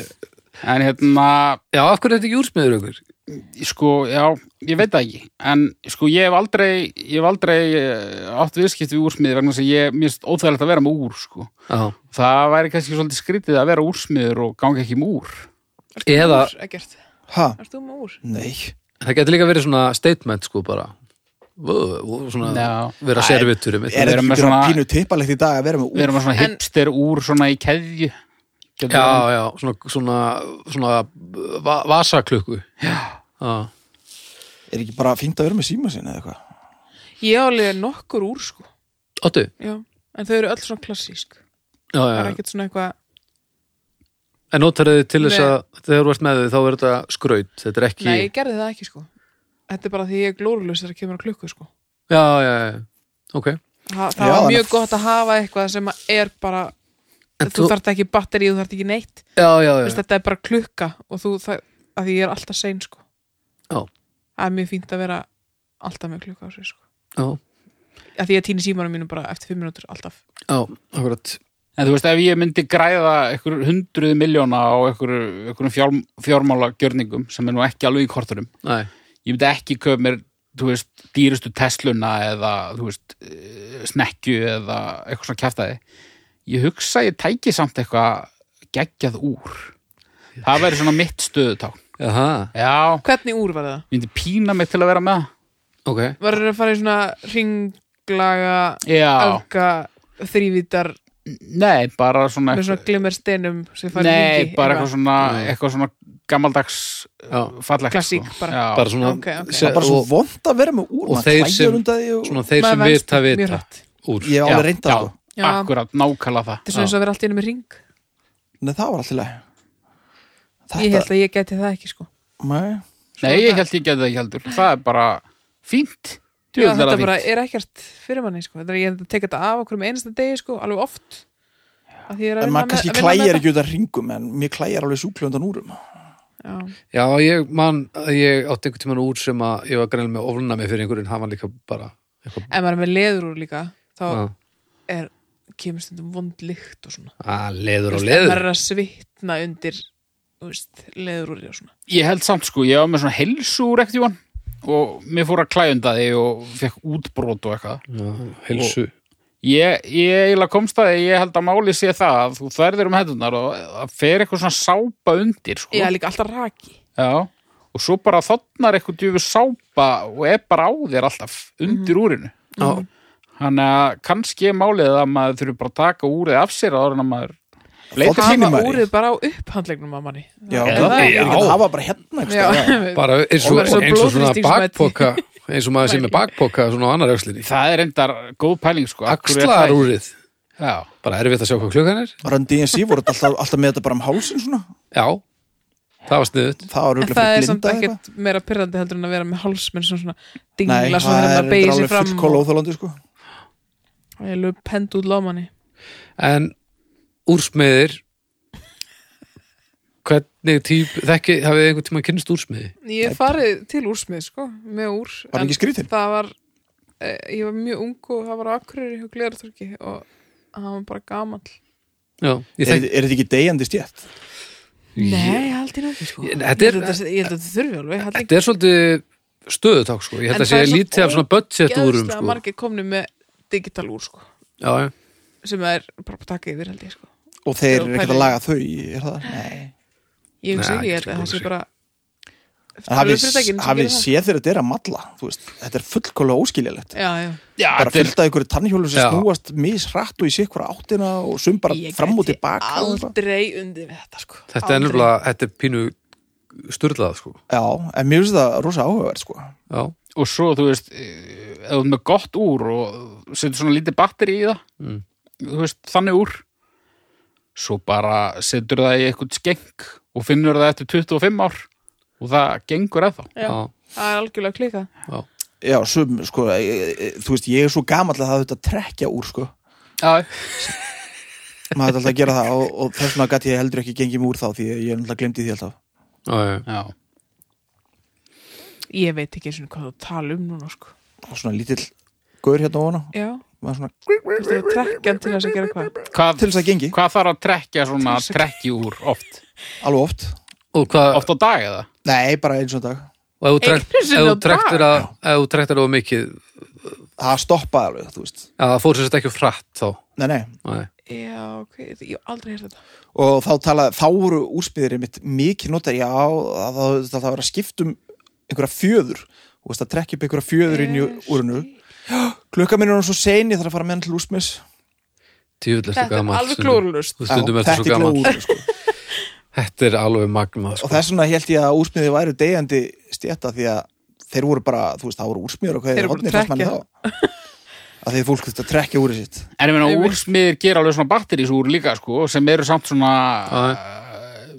A: En hérna,
B: Já, af hverju er þetta ekki úrsmiður, Haukur?
A: sko, já, ég veit það ekki En sko, ég hef aldrei, ég hef aldrei eh, átt viðskipt við úrsmiði vegna þess að ég, mér finnst óþægilegt að vera með úr, sko
B: Já.
A: Það væri kannski svolítið skrítið að vera úrsmiður og ganga ekki með úr
B: Eða,
C: ekkert
D: Ha,
C: Ert þú með úr?
D: nei
B: það getur líka verið svona statement, sko, bara. Vö, vö, Svona,
A: Já.
B: vera
D: Æ,
B: servitur um
D: Er
A: Við
B: eitthvað.
A: erum
D: þetta
A: með
D: ekki svona...
A: svona-
D: pínu tippalegt í dag að vera með
A: við
D: úr?
A: erum með svona
C: En-
A: hipster úr svona í keðju Getur
B: Já,
A: verið.
B: já, svona, svona, svona va vasaklukku. Já.
D: Er ekki bara fínt að vera með síma sinni eða eitthvað?
C: Ég á alveg nokkur úr sko
B: Óttu?
C: Já, en þau eru öll svona klassísk
B: Já, já.
C: Það er ekkert svona eitthvað
B: En notarðu til þess
C: Nei.
B: að þegar þú ert með þau þá er þetta skraut. Þetta er ekki...
C: Nei, ég gerði það ekki sko Þetta er bara því ég er glórulegs þegar kemur að klukku sko
B: Já, já, já. Ok.
C: Það,
D: Já,
C: það var
D: en-
C: mjög gott að hafa eitthvað sem að er bara
B: En
C: Þú þarft ekki batteri, þú þarft ekki neitt
B: Já, já, já.
C: Vist, Þetta er bara klukka og þú það að því ég er alltaf sein sko
B: Já.
C: Það er mjög fínt að vera alltaf með klukka á sig sko
B: Já,
C: að því ég týni símanum mínum bara eftir fimm minútur alltaf
B: já, akkurat
A: En þú veist, ef ég myndi græða einhver hundruð miljóna á einhver, einhverjum fjár, fjármála gjörningum sem er nú ekki alveg í kortunum,
B: Nei.
A: ég myndi ekki köp mér, þú veist, dýrustu Tesluna eða, þú veist, eh, snekkju eða eitthvað svona kjaftaði. Ég hugsa að ég tæki samt eitthvað geggjað úr. Það væri svona mitt stöðutá.
B: Jaha,
A: Já,
C: Hvernig úr var það?
A: ég myndi pína mig til að vera með það.
B: ok.
C: Var það að fara í svona ringlaga,
A: Já,
C: alga, þrývítar
A: nei, bara svona...
C: með svona glimmersteinum sem fara í
A: Nei,
C: ringi?
A: bara eitthvað svona,
B: Nei.
A: eitthvað svona gammaldags
B: Já.
A: fallegt.
C: Klassík
A: sko.
C: bara.
A: Já.
B: Bara svona,
C: Ok, ok.
D: það er bara svo
B: og,
D: vond að vera með úr
B: og
D: maður
B: þeir
D: klæjar
B: sem-
D: undan því og,
B: svona þeir
C: Maður
B: sem
C: venst
B: vita
C: mjög
B: vita
C: hrætt.
B: úr.
D: ég hef alveg reyndað
A: já,
D: það sko.
C: Já.
A: akkurat, nákvæmlega það
C: Þetta er svona eins og að vera allt í einu með ring.
D: Nei, það var alltaf leið
C: Ég
D: Þetta,
C: held að ég gæti það ekki, sko.
D: nei,
A: Nei, ég held ég geti það ekki heldur Það er bara fínt
C: Já,
A: Djöfull er
C: þetta
A: það
C: bara
A: fínt.
C: er ekkert fyrir manni, sko. Þetta er, ég held að teka þetta af okkur með einasta degi, sko, alveg oft. Að því ég er að
D: en
C: vinna
D: maður
C: með,
D: kannski
C: að vinna með
D: klæjar
C: þetta.
D: ekki út af ringum en mér klæjar alveg súklöndan úrum
C: Já,
B: Já, ég man að ég átti einhvern tímann úr sem að ég var greinlega með oflunna með fyrir einhverjum, hann var líka bara eitthvað,
C: ef maður er með leður úr líka, þá
B: að,
C: er, kemur stundum vond lykt og svona.
B: að "Ah, leður
C: Þú
B: og
C: veist, ef
B: leður.
C: maður er að svitna undir, þú veist, leður úr og svona.
A: Ég held samt sko, ég var með svona helsúr ekkert jón og mér fór að klæjunda því og fekk útbrot og eitthvað
B: Já, Heilsu.
A: Ég, ég eiginlega komst að því, ég held að máli sé það að þú þærðir um hendunar og það fer eitthvað svona sápa undir sko.
C: Já, líka alltaf raki.
A: Já. og svo bara þotnar eitthvað djöfu sápa og er bara á þér alltaf undir úrinu
B: Já,
A: Þannig að kannski er málið að maður þurfi bara að taka úrið af sér áður en að maður leitar
D: Þotnar-
A: sín.
C: Hafa
D: Marí.
C: úrið bara á upphandlegnum að manni.
D: Já,
A: Já,
D: það er
B: já.
D: ekki að hafa bara hérna einhvers
C: Já,
D: staðar.
B: bara eins og,
C: Og bara
B: eins og
C: svo
B: svona
C: blóðþrýsting sem mætti.
B: bakpoka, eins og maður sem er bakpoka svona á annar öxlinni.
A: Það er endar góð pæling sko. Af hverju er það
B: Axlar
A: ekki?
B: úrið.
A: Já.
B: Bara erfitt að sjá hvað klukkan er.
D: Run DNC voru þetta alltaf, alltaf með þetta bara um hálsin svona
B: Já, það var sniðut.
D: það var
C: En
D: auðvitað
C: það er
D: fyrir
C: samt
D: blinda eða eitthvað
C: ekkert meira pyrrandi heldur en að vera með hálsmenn svona, svona
D: Nei,
C: dingla svona
D: það
C: þegar
D: er
C: maður beigir
D: reyndar
C: sér
D: alveg
C: fram
D: fullkóla óþólandi sko
C: og ég lög pend út lómanni.
B: En úrsmiðir Hvernig típ Þekki, hafið þið einhvern tímann kynnst úrsmiði?
C: Ég hef farið til úrsmið sko, með úr.
D: Var
C: en
D: ekki skrýtin?
C: Það var, e, ég var mjög ung og það var á Akureyri hjá Gleðartorki og hann var bara gamall.
B: Já, ég
D: er,
B: þekki
D: er þetta ekki deyjandi stjætt?
C: Nei, ég held ég náttúrulega sko.
B: Ég-
C: Ég,
B: þetta er-
C: held að þetta- ég held að þetta þurfi alveg. Ég held
B: Þetta er svolítið stöðutak sko Ég held
C: En
B: að
C: það
B: sé
C: er svo
B: lítið af svona budget úrum
C: ógeðslega
B: sko
C: margir komni með digital úr sko,
B: Já, já,
C: sem er bara að taka yfir held ég sko.
D: og þeir
C: Já,
D: eru ekkert
C: pæli.
D: að laga þau er það? Nei.
C: Ég hugsa
B: Nei,
C: ekki, ég held
B: sko,
C: að það sé
B: sko.
C: bara...
D: En hafið
C: Fyrirtækin sem gera
D: hafið
C: það.
D: séð þeir að þetta er að malla þú veist, þetta er fullkóla óskiljalegt
C: Já, já.
A: Já,
D: bara
A: þetta er,
D: fylgta ykkur tannhjólu sem
B: Já.
D: snúast misrætt og í sikkur áttina og sum bara
C: Ég
D: fram og
C: gæti
D: tilbaka og eitthvað.
C: aldrei undir við þetta sko
B: þetta er nefnilega Þetta er pínu sturlað sko
D: já, en mér finnst það rosa áhugavert sko
B: Já,
A: og svo þú veist, eh, ef þú ert með gott úr og setur svona lítið batteri í það,
B: Mm.
A: þú veist, þannig úr, svo bara setur það í eitthvað skeng og finnur það eftir 25 ár og það gengur eða þá.
C: Já,
B: já,
C: það er algjörlega klika
B: já
D: já, sum, sko, e, e, þú veist, ég er svo gamall að það þetta trekja úr sko
A: Já,
D: maður hætti alltaf að gera það og, og þess vegna gæti ég heldur ekki gengið mér úr þá því að ég er alltaf glemdi því alltaf
B: já, já.
A: já.
C: Ég veit ekki eins og hvað þú tala um núna sko
D: og svona lítill gaur hérna ofan á
C: Já,
D: maður svona
C: þú veist það trekkjan til þess að gera hvað
A: Hvað,
D: til þess að gengi,
A: hvað þarf að trekja svona trekki úr oft?
D: alveg oft
B: Og hvað,
A: Oft á dag eða?
D: nei, bara eins og dag
B: og ef þú trekt-
C: Einu sinni
B: ef þú
C: á
B: trektir að ef þú trektir að mikið
D: það stoppaði alveg, þú veist
B: að það fór sér þetta ekki of hratt þá
D: nei, nei.
B: Nei.
C: Já, ok, ég hef aldrei heyrt þetta
D: og þá, tala, þá voru úrspiðir mitt mikið nota, já, það, það, það, það var að skiptum einhverja fjöður þú veist að trekja upp einhverja fjöður inn í úrunu klukka minn er hann svo sein ég þarf að fara með hann til úrspiðis
B: Djöfull ertu
C: Þetta er
B: gamall
C: alveg
B: stundum.
C: glórulust
B: Þú stundum ertu
D: þetta er
B: svo gamall
D: glóður sko.
B: Þetta er alveg magma
D: og
B: sko.
D: þess vegna held ég að úrspiði væri deyjandi stjæta því að þeir voru bara, þú veist, það voru úrspiður og hvað
C: Þeir
D: er
C: voru
D: hodnir
C: bara
D: fannst manni
C: trekkja.
D: þá að þeir fólk þurfti að trekja úrið sitt
A: En ég meina,
C: Einmitt.
A: úrsmiðir gera alveg svona batterísúr líka, sko, sem eru samt svona eh,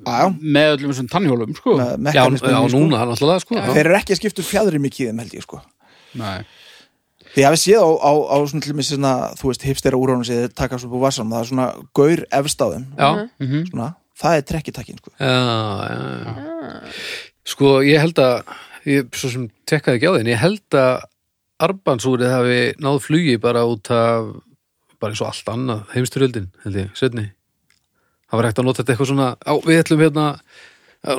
D: Já,
A: með öllum þessum tannhjólum, sko.
D: með
B: Já,
D: mekanismin
B: já
D: í, sko.
B: núna náttúrulega sko
D: þeir eru ekki að skipta um fjadrum í kýðum held ég sko
A: Nei.
D: Því að við séð á, á, á svona til með svona, þú veist, hipstera úránum séð taka svo búið vassanum, það er svona gaur efst á þeim,
B: Já,
C: Mhm.
D: svona, það er trekkitakkin, sko.
B: já, já, já. Sko, ég held að ég svo sem tekkaði ekki á þinn, ég held að arbansúrið hafi náð flugi bara út af bara eins og allt annað heimsturöldin, held ég, setni það var hægt að nota þetta eitthvað svona á, við ætlum hérna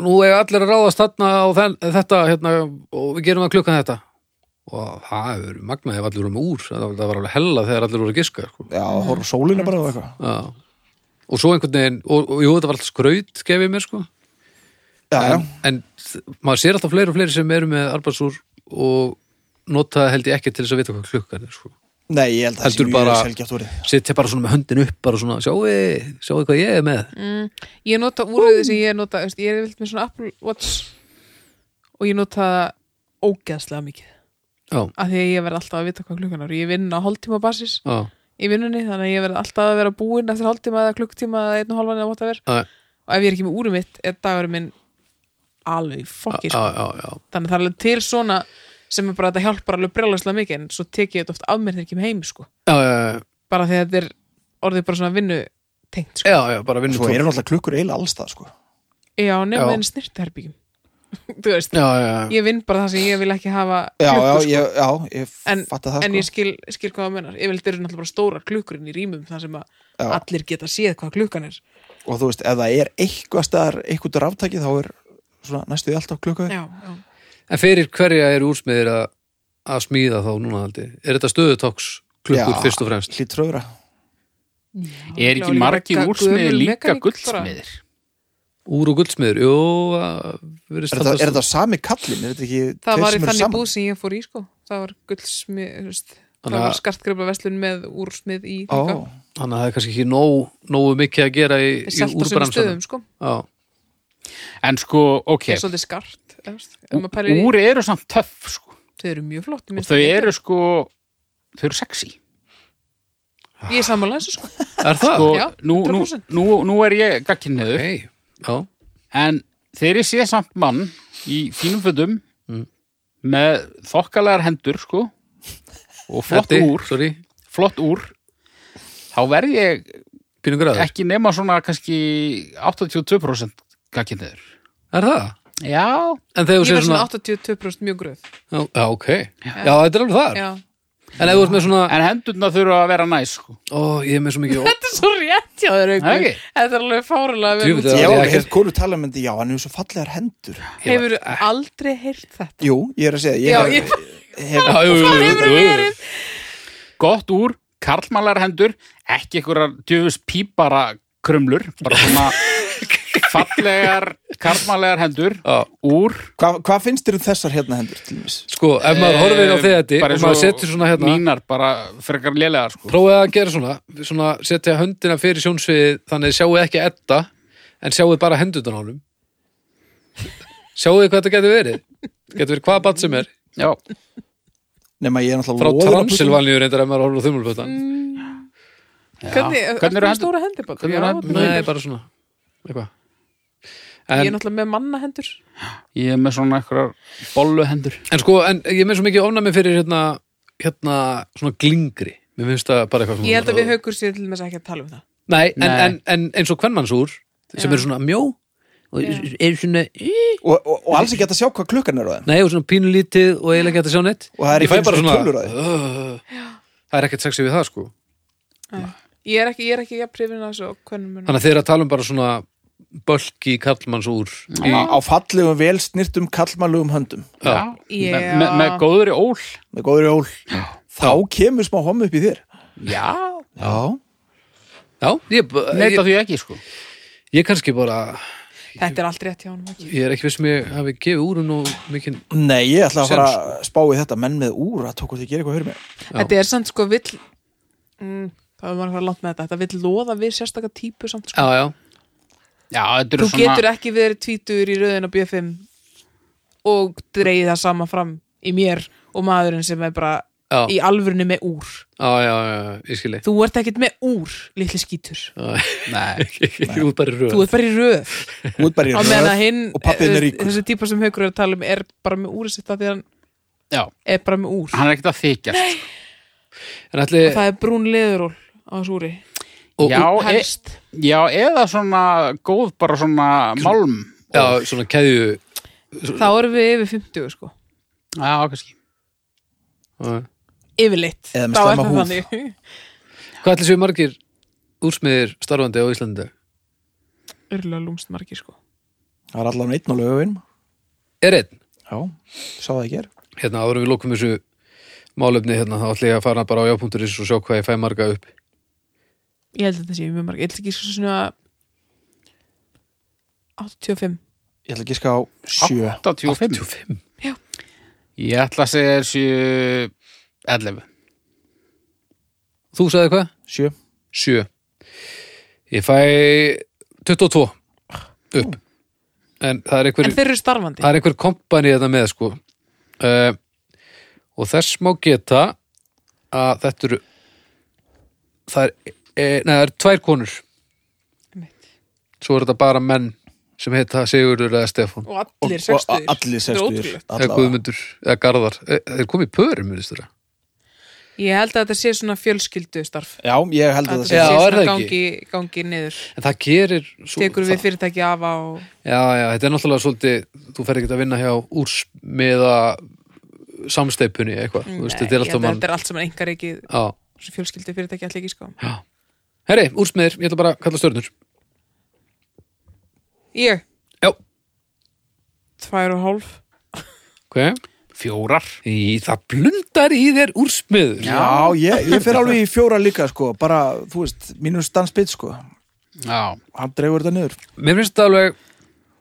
B: nú er allir að ráðast þarna og þen, þetta hérna, og við gerum að klukkan þetta og það hefur magnaði ef allir voru með úr, það var- það var alveg hella þegar allir voru að giska sko.
D: Já, horf á sólina bara og eitthvað
B: Já. og svo einhvern veginn og, og jú, þetta var alltaf skraut, gef ég mér sko
D: Já, já,
B: en, en maður sér alltaf fleiri og fleiri sem eru með arbeidsúr og nota held ég ekki til þess að vita hvað klukkan er sko.
D: nei, ég held að það sé
B: Heldur
D: mjög
B: bara-
D: sjálfgjátt orðið
B: sitja bara svona með höndin upp bara svona, sjáu, sjáu hvað ég er með
C: Mm. Ég nota úröðið sem ég nota veist, Ég er vilt með svona Apple Watch og ég nota það ógeðslega mikið
B: já,
C: af því að ég verð alltaf að vita hvað klukkan er ég vinn á hálftíma basis
B: já,
C: í vinnunni þannig að ég verð alltaf að vera búinn eftir hálftíma eða klukktíma eða einn og halvan eða whatever
B: já,
C: og ef ég er ekki með úrum mitt er dagurinn minn alveg
B: já,
C: fokkir
B: já, já.
C: þannig að það er alveg til svona sem er bara að þetta hjálpar alveg brjálagslega mikið en svo tek ég þetta oft af mér þegar ég kem heim sko.
B: Já, já,
C: bara þegar þetta er orðið bara svona vinnu tengt sko.
B: já, já, bara vinnum
D: Svo eru náttúrulega klukkur eiginlega alls það, sko
C: já,
B: Já.
C: nefnum þeirn snirtiherbyggjum þú veist,
B: Já, já, já,
C: ég vinn bara það sem ég vil ekki hafa
D: Já, já,
C: klukkur, sko.
D: ég, já, ég
C: En-
D: fatta það,
C: en
D: sko
C: ég skil, skil hvað það menar yfirleitt eru náttúrulega bara stórar klukkurinn í rýmum þar sem að
D: Já.
C: allir geta séð hvað klukkan er
D: Og þú veist, ef það er eitthvað staðar, eitthvað ráftæki þá er svona næstuði alltaf klukka
C: já, já.
B: En fyrir hverja eru úrsmiðir að, að smíða þá núna haldi? Er þetta stöðutóks klukkur
D: Já.
B: fyrst og fremst?
D: Hlýtröðra
A: Er
C: Já,
A: ekki
C: líka
A: margir
C: gömul
A: úrsmiðir líka
C: mekaník bara.
A: guldsmiðir?
B: Úr og guldsmiður, jú, að
D: Er
B: virðist
D: þetta,
B: haldast-
D: er þetta sami kallin? Er þetta ekki
C: það
D: tveir
C: var í
D: sem eru
C: þannig
D: saman?
C: búð sem ég fór í sko það var gullsmið þú veist, það
B: Þannig að-
C: var skartgripa verslun með úrsmið í
D: Ó,
C: líka.
B: Þannig að það er kannski ekki nóg, nógu mikið að gera í,
C: Þeir
B: í
C: selt á sömu
B: úrbransanum
C: stöðum sko
B: Já,
A: En sko, ok,
C: það er svolítið skart eða, veist, ef maður pælir í-
A: úr eru samt töff sko.
C: þau eru mjög flott
A: og þau eru sko þau eru sexy
C: ég er sammála þessu sko
B: er það?
A: sko,
C: já,
A: nú, nú,
C: 100%.
A: nú, nú er ég gagkinniður
B: Nei, já,
A: en þegar ég sé samt mann í fínum fötum með þokkalegar hendur sko og flott
B: Eddi,
A: úr,
B: sorry,
A: flott úr þá verð ég
B: pínum græður
A: ekki nema svona kannski 82% gagkinniður
B: Er það?
A: já,
B: En þegar þú
C: ég
B: segir
C: var svona
B: svona
C: 82% mjög gröð
B: Já, já, ok. Já, þetta er alveg þar.
C: já.
B: En ef þú ert með svona,
A: en hendurna þurfa að vera næs sko.
B: ó, ég er með svo mikið, ó,
C: þetta er svo rétt hjá
A: Það er
C: þér Haukur.
A: ekki?
C: þetta er alveg fárulega
B: Djöfull,
D: Ég
B: Já,
D: hef
B: ég-
D: alveg heilt kólu tala með þetta, já, hann hefur svo fallegar hendur
C: hefur aldrei heyrt þetta
D: Jú, ég er að segja,
C: já,
D: ég
C: ég,
D: hef,
B: Já, jú, jú, jú, jú, jú.
A: gott úr, karlmalar hendur ekki einhverjar djöfus pípara krumlur, bara svona fallegar karlmalegar hendur
B: Já.
A: úr
D: hvað hva finnst þér um þessar hérna hendur til dæmis?
B: Sko, ef maður horfir á
A: eh, bara
B: þetta og
A: eins
B: maður setur svona hérna,
A: mínar, bara frekar lélegar sko.
B: prófaði að gera svona, svona setja höndina fyrir sjónsviðið, þannig sjáu ekki etta, en sjáu bara hendutan á honum. Sjáu hvað þetta getur verið. Getur verið hvað bat sem er.
A: já,
D: Nema ég er náttúrulega
B: Frá
D: loðinn á puttana.
B: Transilvaníu reyndar ef maður horfir á þumulbötan.
C: Mm. hvernig,
A: Já.
C: er
A: Hvernig eru
C: það
A: hendur-
C: stóra hendur bara?
A: hvernig eru
C: Já,
A: hendur-
B: Nei, bara svona. Eitthvað.
C: ég er
B: En,
C: náttúrulega með manna hendur
A: ég er með svona einhverjar bollu hendur
B: en sko, en ég er með svo mikið ofnæmi fyrir hérna, hérna, svona glingri. Mér finnst það bara eitthvað svona.
C: ég held að við haukur sér til þess að ekki að tala um það
B: Nei, en,
A: Nei.
B: En, en eins og kvennmannsúr sem
C: Já.
B: eru svona mjó og
C: Já.
B: eru svona
D: og, og, og alls ekki hægt að sjá hvað klukkan er á þeim
B: nei og svona pínulítið og eiginlega geta sjá neitt
D: Og það er
B: Ég fæ
D: ekki einu
B: bara
D: sinni
B: svona
D: tölur á því.
B: "Ugh." Það er ekkert sexið við það sko
C: ég er ekki, ég er ekki jafn hrifin af þessu og hvernig mun
B: Þannig að þeirra tala um bara svona bölki kallmannsúr
D: Á á fallegum, vel snirtum, kallmalugum höndum
B: Já.
A: Me,
C: Já.
A: me, með góðri ól
D: Með góður jól Þá kemur smá homu upp í þér
A: já,
D: Já,
B: Já, ég,
A: neita
B: ég,
A: því ekki sko.
B: ég kannski bara
C: þetta er aldrei rétt hjá honum ekki
B: ég er ekki viss sem ég hafi gefið úr um og mikið
D: nei, ég ætla að
B: Sem
D: fara að spá í þetta menn með úr að tók hvort ég gera eitthvað að höra mig
C: Þetta er samt sko vill mm, Það er maður að fara langt með þetta Þetta vill loða við sérstaka típu samt sko
B: Já, já,
A: já, þetta
C: Þú
A: eru
C: getur
A: svona
C: ekki verið tvítur í röðin á B5 og dreigið það sama fram í mér og maðurinn sem er bara
B: Já.
C: í alvörinu með úr
B: já, já, já, já, ég skilji
C: Þú ert ekkert með úr, litli skítur e-
A: Nei,
B: Þú ert bara í röð
C: Þú ert bara í röð
D: Út bara í
C: á meðan að
D: röð
C: hinn,
D: og pappinn er
C: eh,
D: ríkur.
C: þessi típa sem haukur er að tala um er bara með úr sitt að því að hann
A: já,
C: er bara með úr
A: hann er ekkert að þykjast
B: En ætli,
C: Það er brún leðuról á þessu úri
B: og,
A: já,
B: og,
A: e,
C: Helst
A: já, eða svona góð bara svona málm
B: já, svona keðju
C: Þá erum við yfir 50 sko
A: já, kannski
B: Já,
C: Yfirleitt
D: Eða með
C: Þá er
D: slæma
C: það
D: húð.
C: þannig.
B: Hvað ætli séu margir úrsmiðir starfandi á Íslandi? í dag?
C: örgulega lúmst margir sko
D: Það er allan einn á lögavinn
B: Er einn?
D: Já, sá það ekki er
B: Hérna, áður en við lókum þessu málefni hérna, þá ætli ég að fara bara á jápunkturis og sjá hvað ég fæ marga upp.
C: ég held að þetta sé mjög margir, ég held ekki svo svona 85
D: Ég ætla að gíska á sjö
A: 85
B: 25?
A: Ég ætla að segja þessu 11
B: Þú sagði hvað?
D: Sjö
B: 7. Ég fæ 22 upp. En það er einhver...
C: en þeir eru starfandi
B: það er einhver kompani þetta með sko uh, og þess má geta að þetta eru það er, e, nei, það eru tvær konur
C: Einmitt.
B: svo eru þetta bara menn sem heita Sigurður eða Stefán
C: og allir
D: Og- og-
C: sextuðir Þetta
D: Allir
C: er
D: sextuðir
C: ótrúlegt.
B: eða Guðmundur eða Garðar e, þeir komið í pörum minnist þeirra
C: ég held að þetta sé svona fjölskyldu starf
D: Já, ég held að
C: að þetta
D: það sé
B: Já,
C: sé
B: er það
C: svona
B: ekki?
C: gangi, gangi niður
B: en það gerir svo,
C: tekur við
B: það,
C: fyrirtæki af á
B: já, já, þetta er náttúrulega svolítið þú fer ekki að vinna hjá úrsmiða samsteipunni eitthvað þú veist, þetta er
C: Nei, ég held
B: alltaf
C: að
B: mann
C: þetta er allt saman engar ekki
B: Já.
C: fjölskyldu fyrirtæki allir ekki sko
B: herri, úrsmiðir, ég ætla bara að kalla stjörnur
C: ég,
B: já,
C: tvær og hálf
B: ok
A: Fjórar
B: Í, það blundar í þér úrsmiður
D: Já, ég, ég fer alveg í fjóra líka sko bara, þú veist, mínum stansbytt sko
A: Já,
D: hann dregur þetta niður
B: Mér finnst þetta alveg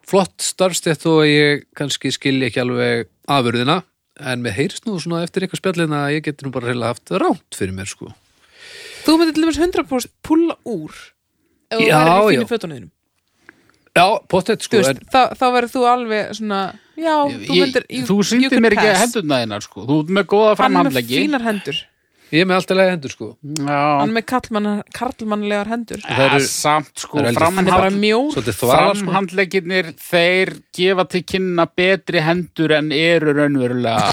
B: flott starfstætt og ég kannski skilja ekki alveg afurðina en mér heyrst nú svona eftir eitthvað spjallina að ég geti nú bara heila haft rámt fyrir mér sko
C: þú myndir til dæmis 100% pulla úr ef þú
B: Já,
C: verður í
B: já.
C: fínu fötunniðinum
B: Já, pottet
C: þú
B: sko
C: veist,
B: en,
C: þá, þá verður þú alveg svona já, þú myndir
A: ég, þú sýndir mér ekki hendurna þínar sko. Þú ert með góða
C: hann er með
A: framhandleggi
C: fínar hendur
B: Ég er með alltaf lega hendur sko
A: Já,
C: hann er með karlmann- karlmannlegar hendur
B: það
A: ja,
B: eru-
A: samt sko
B: það eru
C: hann er bara
A: framhand,
C: mjór
B: Svolítið þvalar sko
A: Framhandlegginir Þeir gefa til kynna betri hendur en eru raunverulega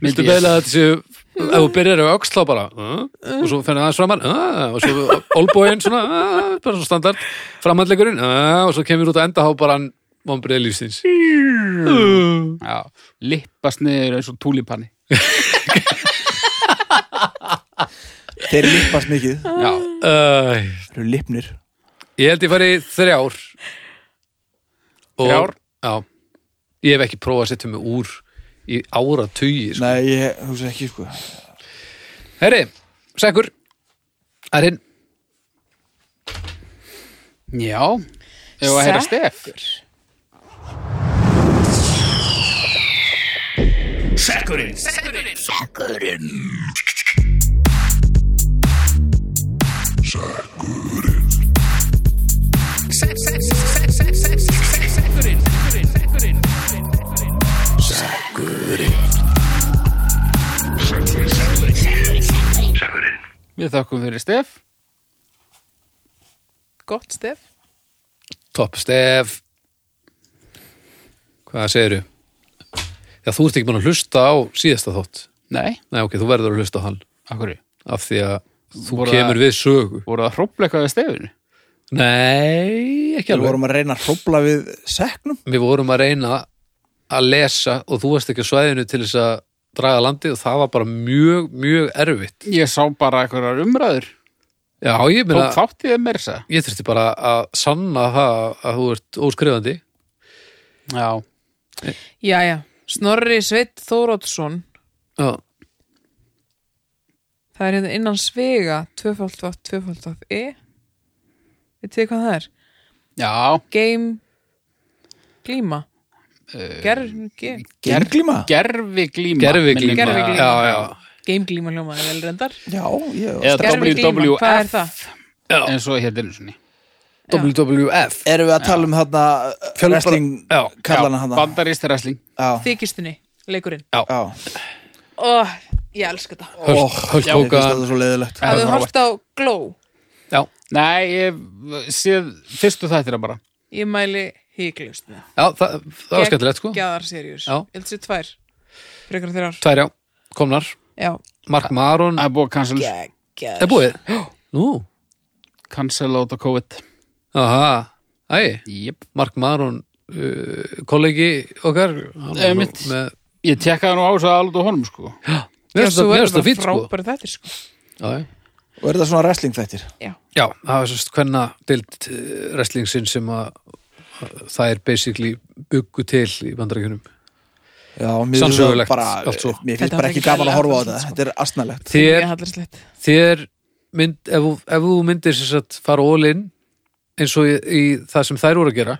B: Viltu meðlega að þetta séu ef þú byrjar að öxla bara uh, og svo fennið aðeins framann uh, og svo olbóin svona uh, bara svo standart framhandleikurinn uh, og svo kemur út að enda há bara hann vombriði lífsins
A: Já, lippast niður eins og túlipanni
D: þeir lippast mikið,
A: Já,
B: Æ,
D: þeir eru lippnir sko.
B: Ég held ég fari í þrjár og,
A: Þrjár?
B: Já Ég hef ekki prófað að setja mig úr í ára tugi sko.
D: nei, ég hugsa ekki sko
B: Herri, sekkur Það er hinn
A: já Ef að heyra stef Við þakkum fyrir stef
C: gott stef
B: Topp stef Hvað segirðu? Já, þú ert ekki búin að hlusta á síðasta þótt
A: Nei,
B: Nei, ok, þú verður að hlusta á hann
A: akkur
B: af því að þú
A: Voru
B: kemur
A: það-
B: við sögu
A: Voru það hrópleikað við stefinu?
B: Nei, ekki
D: við
B: alveg
D: vorum að reyna að hrópla við seknum
B: Við vorum að reyna að lesa og þú varst ekki á svæðinu til þess að draga landið og það var bara mjög, mjög erfitt
A: Ég sá bara einhverjar umræður
B: Já, ég meina,
A: Tók þátt í þeim meira þess
B: ég þurfti bara að sanna það að þú ert óskrifandi
A: að Já
C: Jæja, Snorri Sveit Þóróttsson
B: Já,
C: það er hérna innan svega 2.2.2.e veit E? þið hvað það er?
A: Já,
C: Game Glíma Ger, ge,
D: genglíma?
A: gerfi glíma
B: gerfi glíma
C: Gerviglíma.
B: Já, já,
C: Game Glíma hljómaði vel reyndar
D: já, ég
A: Eða
C: Gerviglíma, hvað er það?
A: WWF
B: Já.
A: En svo hérna einu sinni
C: Já.
B: WWF
D: erum við að tala um þarna uh,
B: Fjölbara-
D: wrestling
B: Já,
D: kallana hana
A: Bandarist wrestling
D: já,
C: Þykistunni, leikurinn
D: já, Oh.
C: Ó, Ég elska þetta
D: Ó,
B: Höll
D: já, ég finnst
B: Hogan
D: þetta svo leiðilegt
A: Já.
C: Hafðu hort á Glow
B: Já,
A: Nei, ég séð fyrstu þættir bara
C: Ég mæli híklust með
B: já, það, það var skemmtilegt sko
C: Gjaðar seriós
B: Já.
C: Ég held sér tvær Frekar þeirrar
B: Tvær já, komnar
C: Já
B: Mark Maron,
A: Það er búið að cancel,
C: Gjaðar
B: er búið Nú,
A: cancel át á COVID
B: aha, æ
A: Jep.
B: Mark Maron uh, kollegi okkar hann var nú
A: Einmitt.
B: með
A: Ég tekkaði nú á þess að alveg á honum sko
B: Mér finnst það- mér finnst það fínt, sko.
C: frábæra þetta sko
B: Já, já.
D: Og er það svona wrestling þættir?
B: Já, það var sérst hvenna deild wrestlingsinn sem að að það er basically byggu til í bandarækjunum.
D: Já, mér finnst
B: Sannsögulegt,
D: það bara,
B: allt svo.
D: mér
C: Þetta
D: finnst bara
C: var
D: ekki
C: ekki
D: gaman að horfa á
C: gæðlega
D: þetta
C: sko.
D: Þetta er astnalegt
B: Þér,
C: hallarslegt
B: þér mynd, ef, þú- ef þú myndir sérst að fara ólinn eins og í, í það sem þær voru að gera,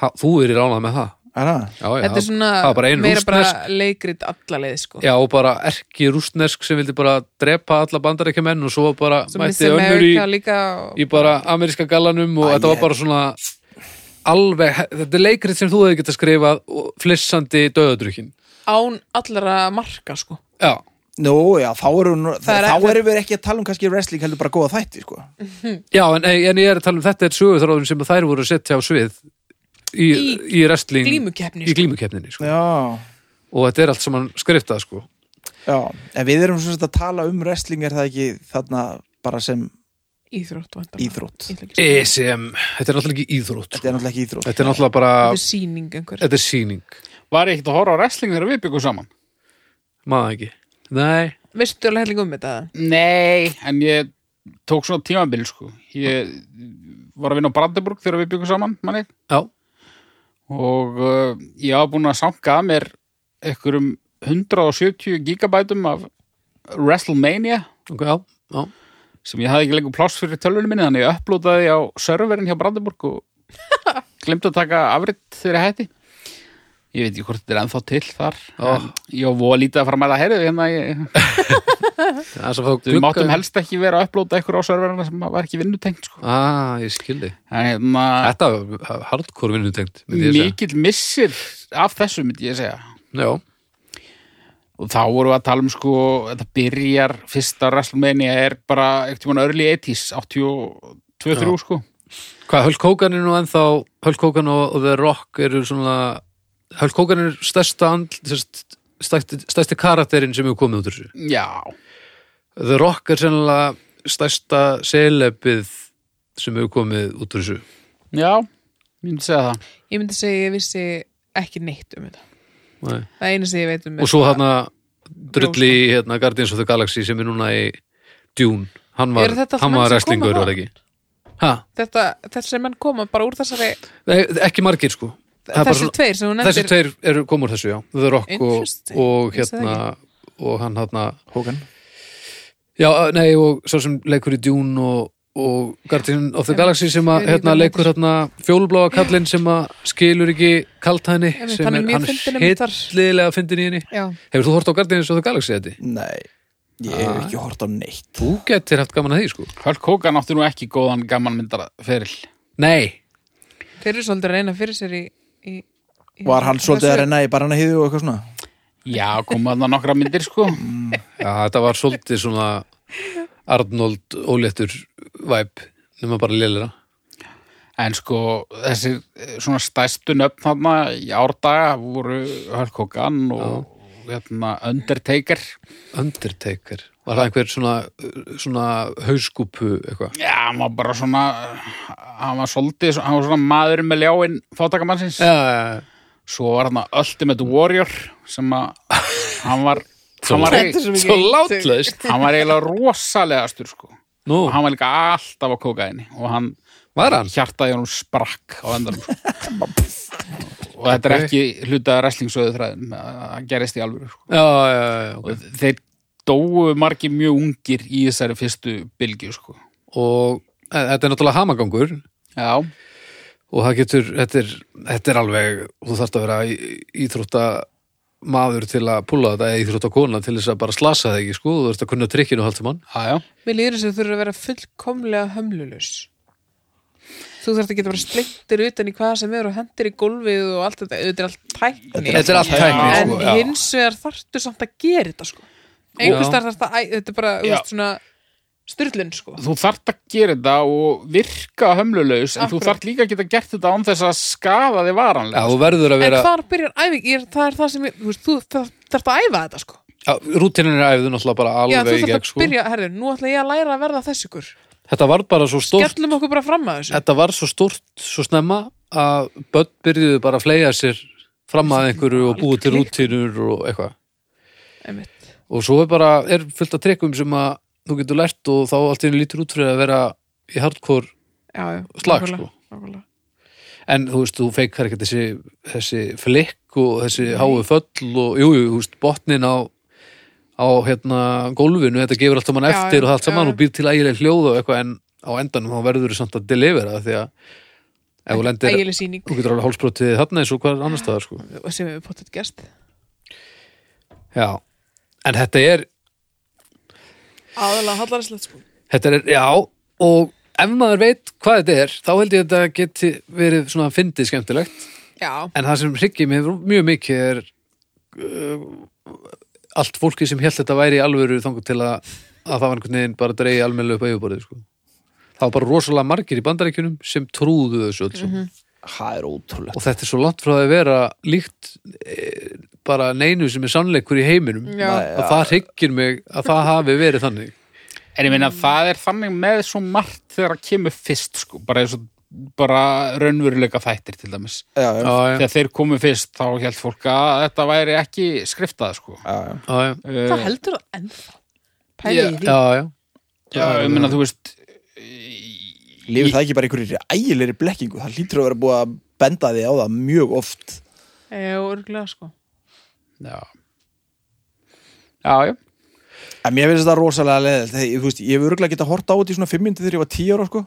B: ha, þú er í ránað með það. Já, já,
C: Þetta er svona
B: það var bara ein
C: meira bara
B: rússnesk-
C: leikrit alla leið sko
B: Já, og bara erki rústnesk sem vildi bara drepa alla bandarækjumenn og svo bara
C: Svo Miss
B: mætti önnur í,
C: America líka og-
B: í bara ameríska gallanum og
D: Æ,
B: þetta var
D: ég-
B: bara svona alveg, þetta er leikrit sem þú hefði getað skrifað og flissandi döðadrukkin
C: án allra marka sko
B: Já,
D: Nú, já, þá erum,
C: Það er- Mhm.
D: þá erum við ekki að tala um kannski wrestling heldur bara góða þætti, sko
B: já en, en ég er að tala um þetta er sögurþráðum sem þær voru að setja á svið í, í,
C: Í
B: wrestling
C: glímukeppni,
B: í
C: sko.
B: glímukeppninni sko.
D: Já,
B: og þetta er allt saman skriftað sko.
D: já En við erum svona að tala um wrestling er það ekki þarna bara sem
C: Íþrótt væntanlega.
D: íþrótt
C: Ég ætla ekki að segja.
B: ESM, E þetta er náttúrulega ekki íþrótt
D: Þetta
B: sko.
D: er náttúrulega ekki íþrótt
B: þetta er náttúrulega bara,
C: Þetta er sýning einhver
B: þetta er sýning
A: Var ég ekkert að horfa á wrestling þegar við byggum saman?
B: maður ekki Nei,
C: Veistu alveg helling um þetta? eða?
A: Nei, en ég tók svona tímabil sko. Ég var að vinna á Brandenburg þegar við byggum saman manni.
B: já,
A: og uh, ég hafa búin að sanka að mér einhverjum 170 gigabætum af WrestleMania
B: ok, já, já
A: sem ég hafði ekki lengur pláss fyrir tölvunum minni þannig ég upplótaði á serverin hjá Brandenburg og glemt að taka afritt þegar ég hætti ég veit ekki hvort þetta er ennþá til þar
B: Ó.
A: en ég var voða lítið að fara að mæla heyrðu hérna ég,
B: Það er svo að fá
A: við um máttum
B: glugga-
A: helst ekki vera að upplóta einhverju á serverina sem var ekki vinnutengt sko.
B: Ah, ég skildi.
A: en hérna
B: Þetta var hardcore vinnutengt, myndi ég segja.
A: mikill missir af þessu myndi ég segja
B: Já,
A: og þá vorum við að tala um sko þetta byrjar, fyrsta WrestleMania er bara eitthvað mann early 80s 82-3 sko
B: hvað, Hulk Hogan er nú ennþá, Hulk Hogan og, og The Rock eru svona, Hulk Hogan er stærsta andl, sérst, stærsti, stærsti karakterinn sem hefur komið út úr þessu.
A: já,
B: The Rock er sennilega stærsta selebið sem hefur komið út úr þessu.
A: já, ég myndi segja það
C: Ég myndi segja ég vissi ekki neitt um þetta
B: Nei.
C: Það eina sem ég veit um
B: Og svo þarna drulli í, hérna Guardians of the Galaxy sem er núna í Dune. Hann var,
C: Eru þetta
B: hann
C: menn
B: var
C: sem
B: wrestlingur,
C: koma
B: var það ekki? Ha,
C: þetta, þessi menn koma bara úr þessari
B: Nei, ekki margir sko. Það er bara
C: þessi
B: svona-
C: tveir sem hún
B: Þessi
C: nefndir
B: tveir eru komur þessu, já The Rock og,
C: Interesting.
B: og
C: Vissi það
B: hérna og hann hérna
D: Hókan
B: já, eh, nei, og svo sem leikur í Dune og, og Guardian of the
C: Einmitt.
B: Galaxy sem að
C: Ég veit
B: hérna
C: það
B: leikur hérna fjólubláa kallinn sem að skilur ekki kaltæðinni
C: Einmitt,
B: sem
C: hann er
B: er,
C: mjög
B: hann
C: fyndinn
B: er
C: einmitt þar.
B: hitlilega fyndin í henni
C: Já,
B: Hefur þú hort á Guardians of the Galaxy þetta?
D: Nei, ég
C: Ah.
D: hef ekki hort á neitt
B: Þú getur haft gaman að því, sko
A: Hulk Hogan átti nú ekki góðan gaman myndara feril
B: Nei,
C: þeir eru svolítið að reyna fyrir sér í, í, í
D: Var hann svolítið að reyna í barana hýðu og eitthvað svona?
A: já, koma þarna nokkra myndir sko
B: já, þetta var svolítið svona Arnold óléttur væp, nema bara lélera
A: en sko, þessi svona stæstu nöfn þarna í árdaga voru Hulk Hogan og hérna Undertaker
B: Undertaker Var það einhver svona, svona hauskúpu eitthvað?
A: já, hann var bara svona eh, hann var svolítið, hann var svona maður með ljáin fátakamannsins
B: Já, já, já.
A: svo var hann að Ultimate Warrior sem að hann var hann var,
C: Þetta er svo mikið
B: Svo látlaust
A: hann var eiginlega rosalegastur sko.
B: Nú,
A: og hann var líka alltaf á kókaini og hann
B: var hann?
A: hjartaði hann sprakk á endanum sko. og þetta er
B: Ok.
A: ekki hlutaða wrestlingsöðu þræðin það gerist í alvöru sko.
B: Já, já, já, já.
A: og þeir dóu margir mjög ungir í þessari fyrstu bylgju sko.
B: Og e, þetta er náttúrulega hamagangur
A: já,
B: og það getur, þetta er, þetta er alveg þú þarft að vera í- íþrótta maður til að púla þetta eða íþrótta kona til þess að bara slasa það ekki sko, þú þarft að kunna trikkinu og halda mann
A: já, já
C: Mér líður þess að þú þurfur að vera fullkomlega hömlulus Þú þarft að geta bara splittir utan í hvað sem er og hendir í gólfið og allt þetta, þetta er allt tækni
B: Þetta er allt tækni
C: En
B: sko, já.
C: hins vegar þarftu samt að gera þetta sko Einhvers
B: Já.
C: þar þarft að, æ, þetta er bara, þú
A: Já.
C: veist svona styrlun sko
A: þú þart að gera þetta og virka hömlulegs en þú
C: Akkurat.
A: þart líka að geta gert þetta án þess að skafa þig
B: Já,
A: varanlega
B: þú verður að
C: En
B: vera,
C: hvar byrjar æfing, ég, er- það er það sem ég, þú veist, þú þarft þarft að æfa þetta sko
B: já, rútinin er æfðu náttúrulega bara
C: Já, þú
B: alveg í
C: þarft
B: gegn
C: að
B: sko
C: byrja, herðu, nú ætla ég að læra að verða þess ykkur
B: Þetta var bara svo stórt
C: Gellum okkur bara fram að þessu
B: þetta var svo stort, svo snemma að börn byrjuðu bara að fleia sér fram að einhverju og búið til rútinur og eitthvað
C: Einmitt.
B: og svo er bara, er fullt af trekkum sem að þú getur lært og þá allt í einu lítur út fyrir að vera í hardcore
C: já, já,
B: Slag,
C: nákvæmlega,
B: sko.
C: nákvæmlega.
B: en þú veist, þú feikar ekkert þessi, þessi flikk og þessi háu föll og jú, jú, þú veist, botnin á á hérna gólfinu, þetta gefur allt saman
C: Já,
B: eftir
C: já,
B: og allt
C: já,
B: saman
C: já.
B: og býr til ægileg hljóð og eitthvað en á endanum þá verður þú samt að delivera því að ef þú lendir,
C: ægileg sýning
B: þú getur alveg hálsbrotið þarna eins og hvað annars staðar sko
C: og sem við pottet gerst
B: já, en þetta er
C: aðalega hallarslegt sko
B: Þetta er, já, og ef maður veit hvað þetta er, þá held ég að þetta geti verið svona fyndið skemmtilegt
C: já,
B: en það sem hryggir mér mjög mikið er uh, allt fólki sem held þetta væri í alvöru þangur til að, að það var einhvern veginn bara að dreigja almennilega upp á yfirborðið, sko Það var bara rosalega margir í bandarækjunum sem trúðu þessu öll mm
D: það er ótrúlegt
B: og þetta er svo langt frá því að vera líkt e, bara neinu sem er sannleikur í heiminum
C: já,
B: að það hryggir mig að það hafi verið þannig
A: En ég meina, það er þannig með svo margt þegar það kemur fyrst, sko, bara eins og bara raunveruleika þættir til dæmis.
D: já, já,
B: Já, já,
A: Þegar þeir komu fyrst, þá held fólk að þetta væri ekki skriftað, sko. Eh,
D: já, já.
B: já, já,
C: það heldur það ennþá pæli
A: Já,
C: í því
B: Eh, já, já.
A: Já, ég meina, þú veist,
D: lifir það ekki bara einhverjir ægilegri blekkingu það hlýtur að vera búið að benda því á það mjög oft
C: já, örgulega sko
A: já. Já, já.
D: en mér finnst það rosalega leðilt þú veist, ég hef örgulega getað horta á þetta í svona 5 myndi þegar ég var 10 ára sko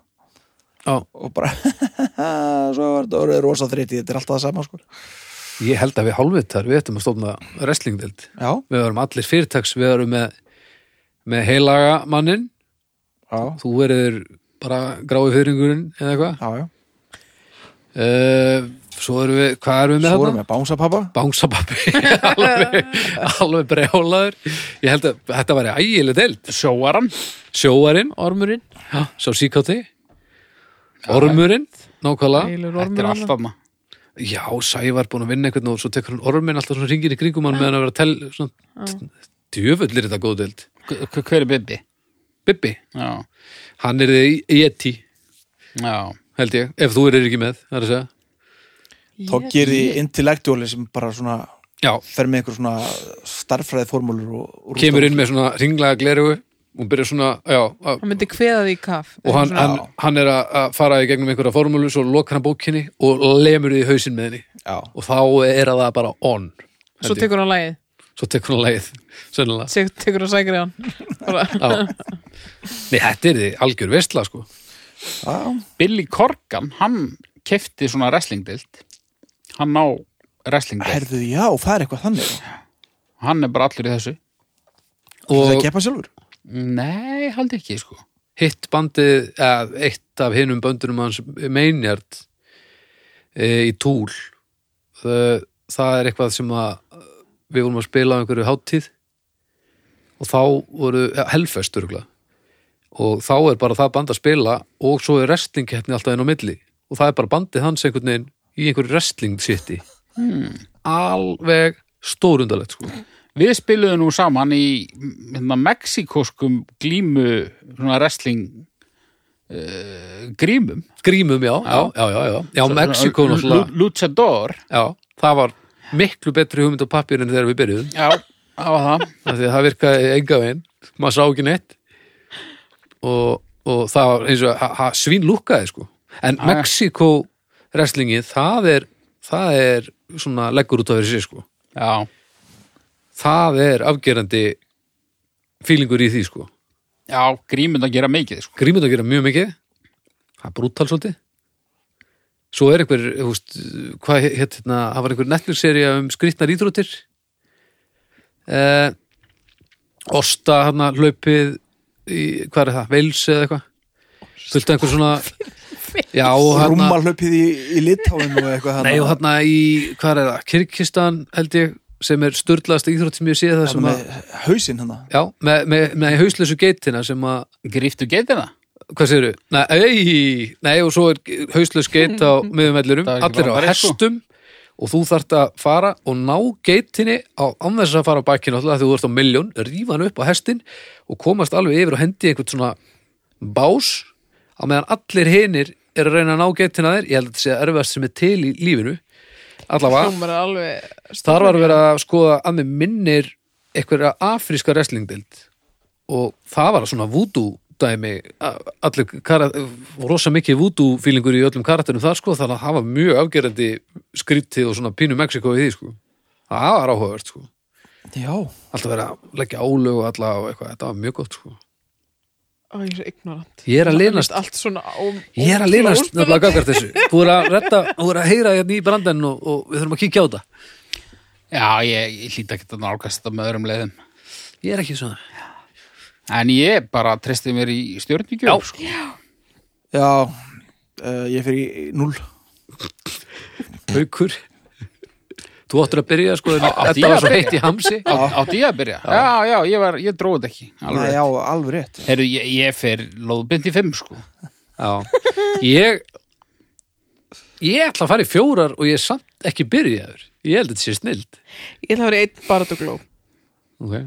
B: já.
D: og bara, svo var þetta orðið rosa þreytið, þetta er alltaf það sama sko
B: Ég held að við hálfvitar, við ættum að stofna wrestlingdeld.
D: já,
B: Við erum allir fyrirtaks, við erum með, með heilaga mannin,
D: já,
B: þú verður bara grái fyrringurinn eða eitthvað.
D: já, já.
B: Uh, svo erum við, hvað erum við með
D: svo erum
B: þarna?
D: við bánsapappa
B: Bánsapappi, alveg, alveg brjálaður. Ég held að þetta væri ægileg deild.
A: Sjóaran.
B: Sjóarinn,
C: ormurinn,
B: já, sá síkátti, ormurinn, nákvæmlega.
C: ægilegur
A: Þetta er
C: ormurinn
A: alltaf maður.
B: Já, Sævar búin að vinna einhvern og svo tekur hann orminn alltaf svona ringin í kringum hann meðan að vera að tel, svona, djöfull er þetta góð deild.
A: Hver- Hver er Bibi?
B: Bibbi,
A: Já,
B: hann er þið í eti,
A: já.
B: held ég, ef þú eru ekki með, það er að segja.
D: þá gerir því intellektuali sem bara svona
B: Já,
D: fer með einhver svona starffræði formúlur og, og
B: kemur inn með svona ringlega glerugu, hún byrjar svona, já, að,
C: hann myndi kveða því í kaf
B: og hann, hann, hann er að- að fara í gegnum einhverja formúlu, svo lokar hann bókinni og lemur því í hausinn með henni
D: já,
B: og þá er að það bara on,
C: svo tekur hann lagið,
B: svo tekur hann leið, sennilega.
C: Svo tekur hann sækrið hann bara,
B: Já. Nei, þetta er því algjör veistla, sko.
D: já,
A: Billy Corgan, hann kefti svona wrestlingdild. Hann á wrestlingdild.
D: herðu, já, það er eitthvað þannig
A: Hann er bara allur í þessu.
D: og það
B: Og
D: keppa sjálfur
A: Nei, haldi ekki, sko.
B: hitt bandið, eða eitt af hinum böndunum hans meinjart e, í túl það, það er eitthvað sem að eh, við vorum að spila á einhverju hátíð og þá voru ja, helfest örgulega og þá er bara það band að spila og svo er restlingkeppni alltaf inn á milli og það er bara bandið hans einhvern veginn í einhverju wrestling city alveg stórundalegt sko
A: Við spiluðum nú saman í hérna, mexikoskum glímu svona wrestling uh, grímum.
B: grímum já, já, já, já, já, já Mexiko
A: Lu-
B: náttúrulega
A: Lu- Luchador.
B: Já, það var miklu betri hugmynd á pappir en þegar við byrjuðum
A: Já, það var það.
B: af því að það virkaði enga veginn maður sá ekki neitt og, og það var eins og ha- ha- svín lúkkaði sko en
A: já.
B: Mexiko wrestlingið það er, það er svona leggur út af fyrir sig sko
A: Já,
B: það er afgerandi fílingur í því sko
A: já grímund að gera mikið, sko.
B: grímið að gera mjög mikið það er brútal svolítið svo er einhver, þú veist, hvað hétt hérna, það var einhver Netflix-sería um skrýtnar íþróttir eh, Osta hérna hlaupið í, hvað er það, Veils eða eitthvað fullt af einhver svona já, og hérna
D: rúmalöpið í, í litáin og eitthvað
B: nei, og hérna í, hvað er það, Kyrkistan held ég, sem er störðlaðasta íþrótt sem ég sé það sem að,
D: með hausinn hann
B: já, með, með, með hauslösu geitina sem að
A: Gríftu getina?
B: hvað segirðu? Nei, ei, nei, og svo er hauslaus geit á miðumellurum,
A: Það er ekki
B: allir á
A: bara bara sko.
B: hestum og þú þart að fara og ná geitinni á án þess að fara á bækinu alltaf þegar þú ert á milljón, rífa hann upp á hestin og komast alveg yfir og hendi einhvern svona bás á meðan allir hinir er að reyna að ná geitina þér, ég held að þetta sé að erfiðast sem er til í lífinu allavega
C: hann var alveg
B: Þar var verið að skoða að mér minnir einhverja afríska wrestlingdild og það var svona voodoo dæmi, a- allir karat, rosa mikið voodoo fílingur í öllum karakterum þar sko, þannig að það var mjög afgerandi skrítið og svona pínu Mexiko í því sko, það var áhugavert sko
D: Já,
B: alltaf verið að leggja álög og alla og eitthvað, þetta var mjög gott sko
C: Ó, ég er svo ignorant
B: Ég er að linast-
C: Mér finnst allt svona á
B: Ég er að linast nefnilega gafkart þessu Þú er að redda, þú er að heyra hérna í brandan og, og við þurfum að kíkja á þetta
A: Já, ég, ég hlýta ekki að nálgast þetta með öðrum leiðum.
B: Ég er ekki svona
A: En ég bara treysti mér í stjórnvíkjöf, sko.
D: já uh, Ég fyrir í núl
B: Haukur Þú áttur að byrja sko en
A: átti ég
B: Þetta var
A: að
B: svo
A: byrja?
B: heitt í hamsi
A: Á, átti ég að byrja? Já, já, ég, var, ég dróði þetta ekki.
D: Nei,
A: Alveg.
D: já, alveg rétt
A: Heru, ég, ég fer lóðbind í fimm, sko.
B: Já Ég Ég ætla að fara í fjórar og ég er samt ekki byrjaður Ég held að þetta sé snild
C: Ég ætla að vera einn baratugló
B: okay.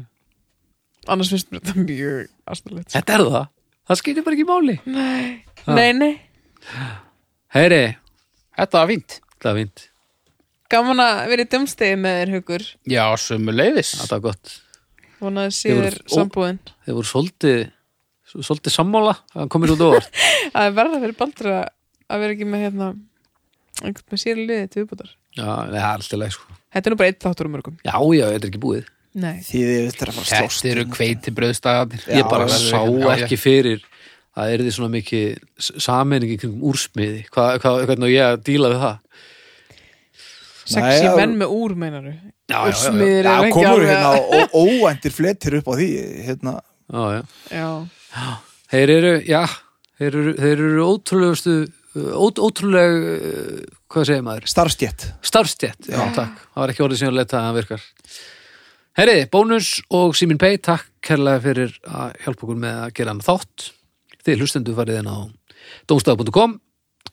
C: Annars finnst mér þetta mjög astalegt
B: Þetta er það Það skiptir bara ekki máli
C: Nei, nei, nei
B: Heyri,
A: Þetta var fínt.
B: það er vint
C: Gaman að vera í dömstegi með þér, Haukur
A: Já, sömu leiðis.
B: Þetta er gott
C: Vonaði
B: Ég voru-
C: sér sambúðin
B: Þeir voru svolítið Svolítið sammála að hann komir út á óvart
C: Það er verða fyrir baldur að að vera ekki með hérna einhvern með sér í liði til viðbútar
B: Já, það er alltaf leið sko
C: Þetta er nú bara einn þáttur um mörgum
B: Já, já, þetta er ekki búið.
C: Nei,
D: Því þið þetta er að fara að slóst
A: Þetta eru kveiti bröðstæðanir.
B: ég bara
D: já,
B: sá ekki fyrir að er því svona mikið s- sameiningi kringum úrsmiði. Hva, hva, hvernig á ég að díla við það?
C: sexy
D: Nei, já.
C: menn með úr meinaru
B: Já, já, já, já.
C: Úrsmiðir
D: Já,
C: er ekki
D: komur
C: alveg
D: hérna
C: að-
D: ó- óvæntir fletir upp á því hérna,
B: já, já.
C: Já,
B: Þeir eru, já, þeir eru, þeir eru ótrúlegustu, ó, ótrúleg, uh, hvað segir maður?
D: Starfstjett
B: Starfstjett, já, takk. Það var ekki orðið sem ég leta að hann virkar. Herri, bónus og Simin Pei, takk kærlega fyrir að hjálpa okkur með að gera hann þátt. Þið hlustendu farið inn á domstaf.com,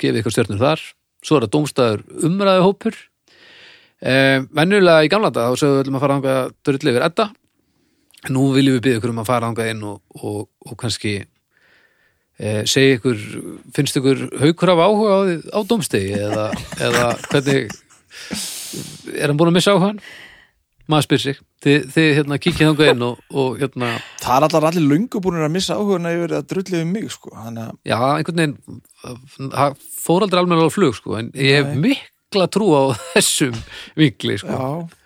B: gefið ykkur stjörnur þar. Svo er það domstafur umræðuhópur. Eh, venjulega í gamla dag, þá sögum við ætlum að fara þangað að drullu yfir edda. Nú viljum við byggja ykkur um að fara þangað inn og, og, og kannski eh, segja ykkur, finnst ykkur haukur af áhuga á, því- á domstegi eða, eða hvernig er hann búin að missa áhugan? Maður spyr sig. Þið, þið hérna, kíkið þangað inn og, og hérna,
D: Það er allar allir löngu búinir að missa áhuguna yfir að drullu við mig sko. Þannig að
B: já, einhvern veginn uh, það fór aldrei almennilega á flug sko, en ég hef mikla trú á þessum vinkli sko.
D: Já,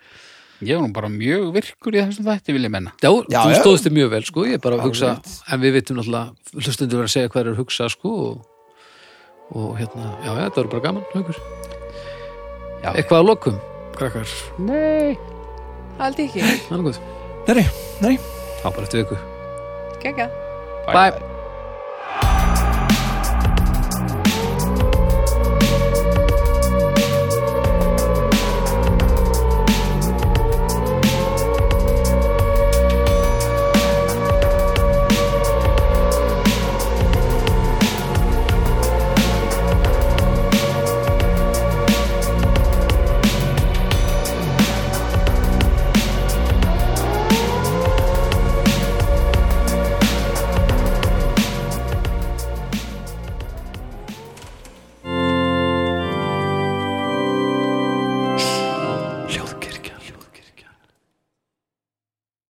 A: Ég var nú bara mjög virkur í þessum þætti, vil ég menna.
B: Já,
D: Já,
B: þú
D: já.
B: stóðst þig mjög vel sko, ég er bara að
D: Alveg
B: hugsa
D: rétt.
B: en við vitum náttúrulega, hlustundur verður að segja hvað er að hugsa sko og, og hérna, já, já, þetta verður bara gaman haukur.
A: Já.
B: Eitthvað að lokum, krakkar
A: Nei.
C: held ég ekki
B: annað gott,
D: nei, nei
B: þá bara eftir viku
C: Gekka
A: Bye.
B: Bye.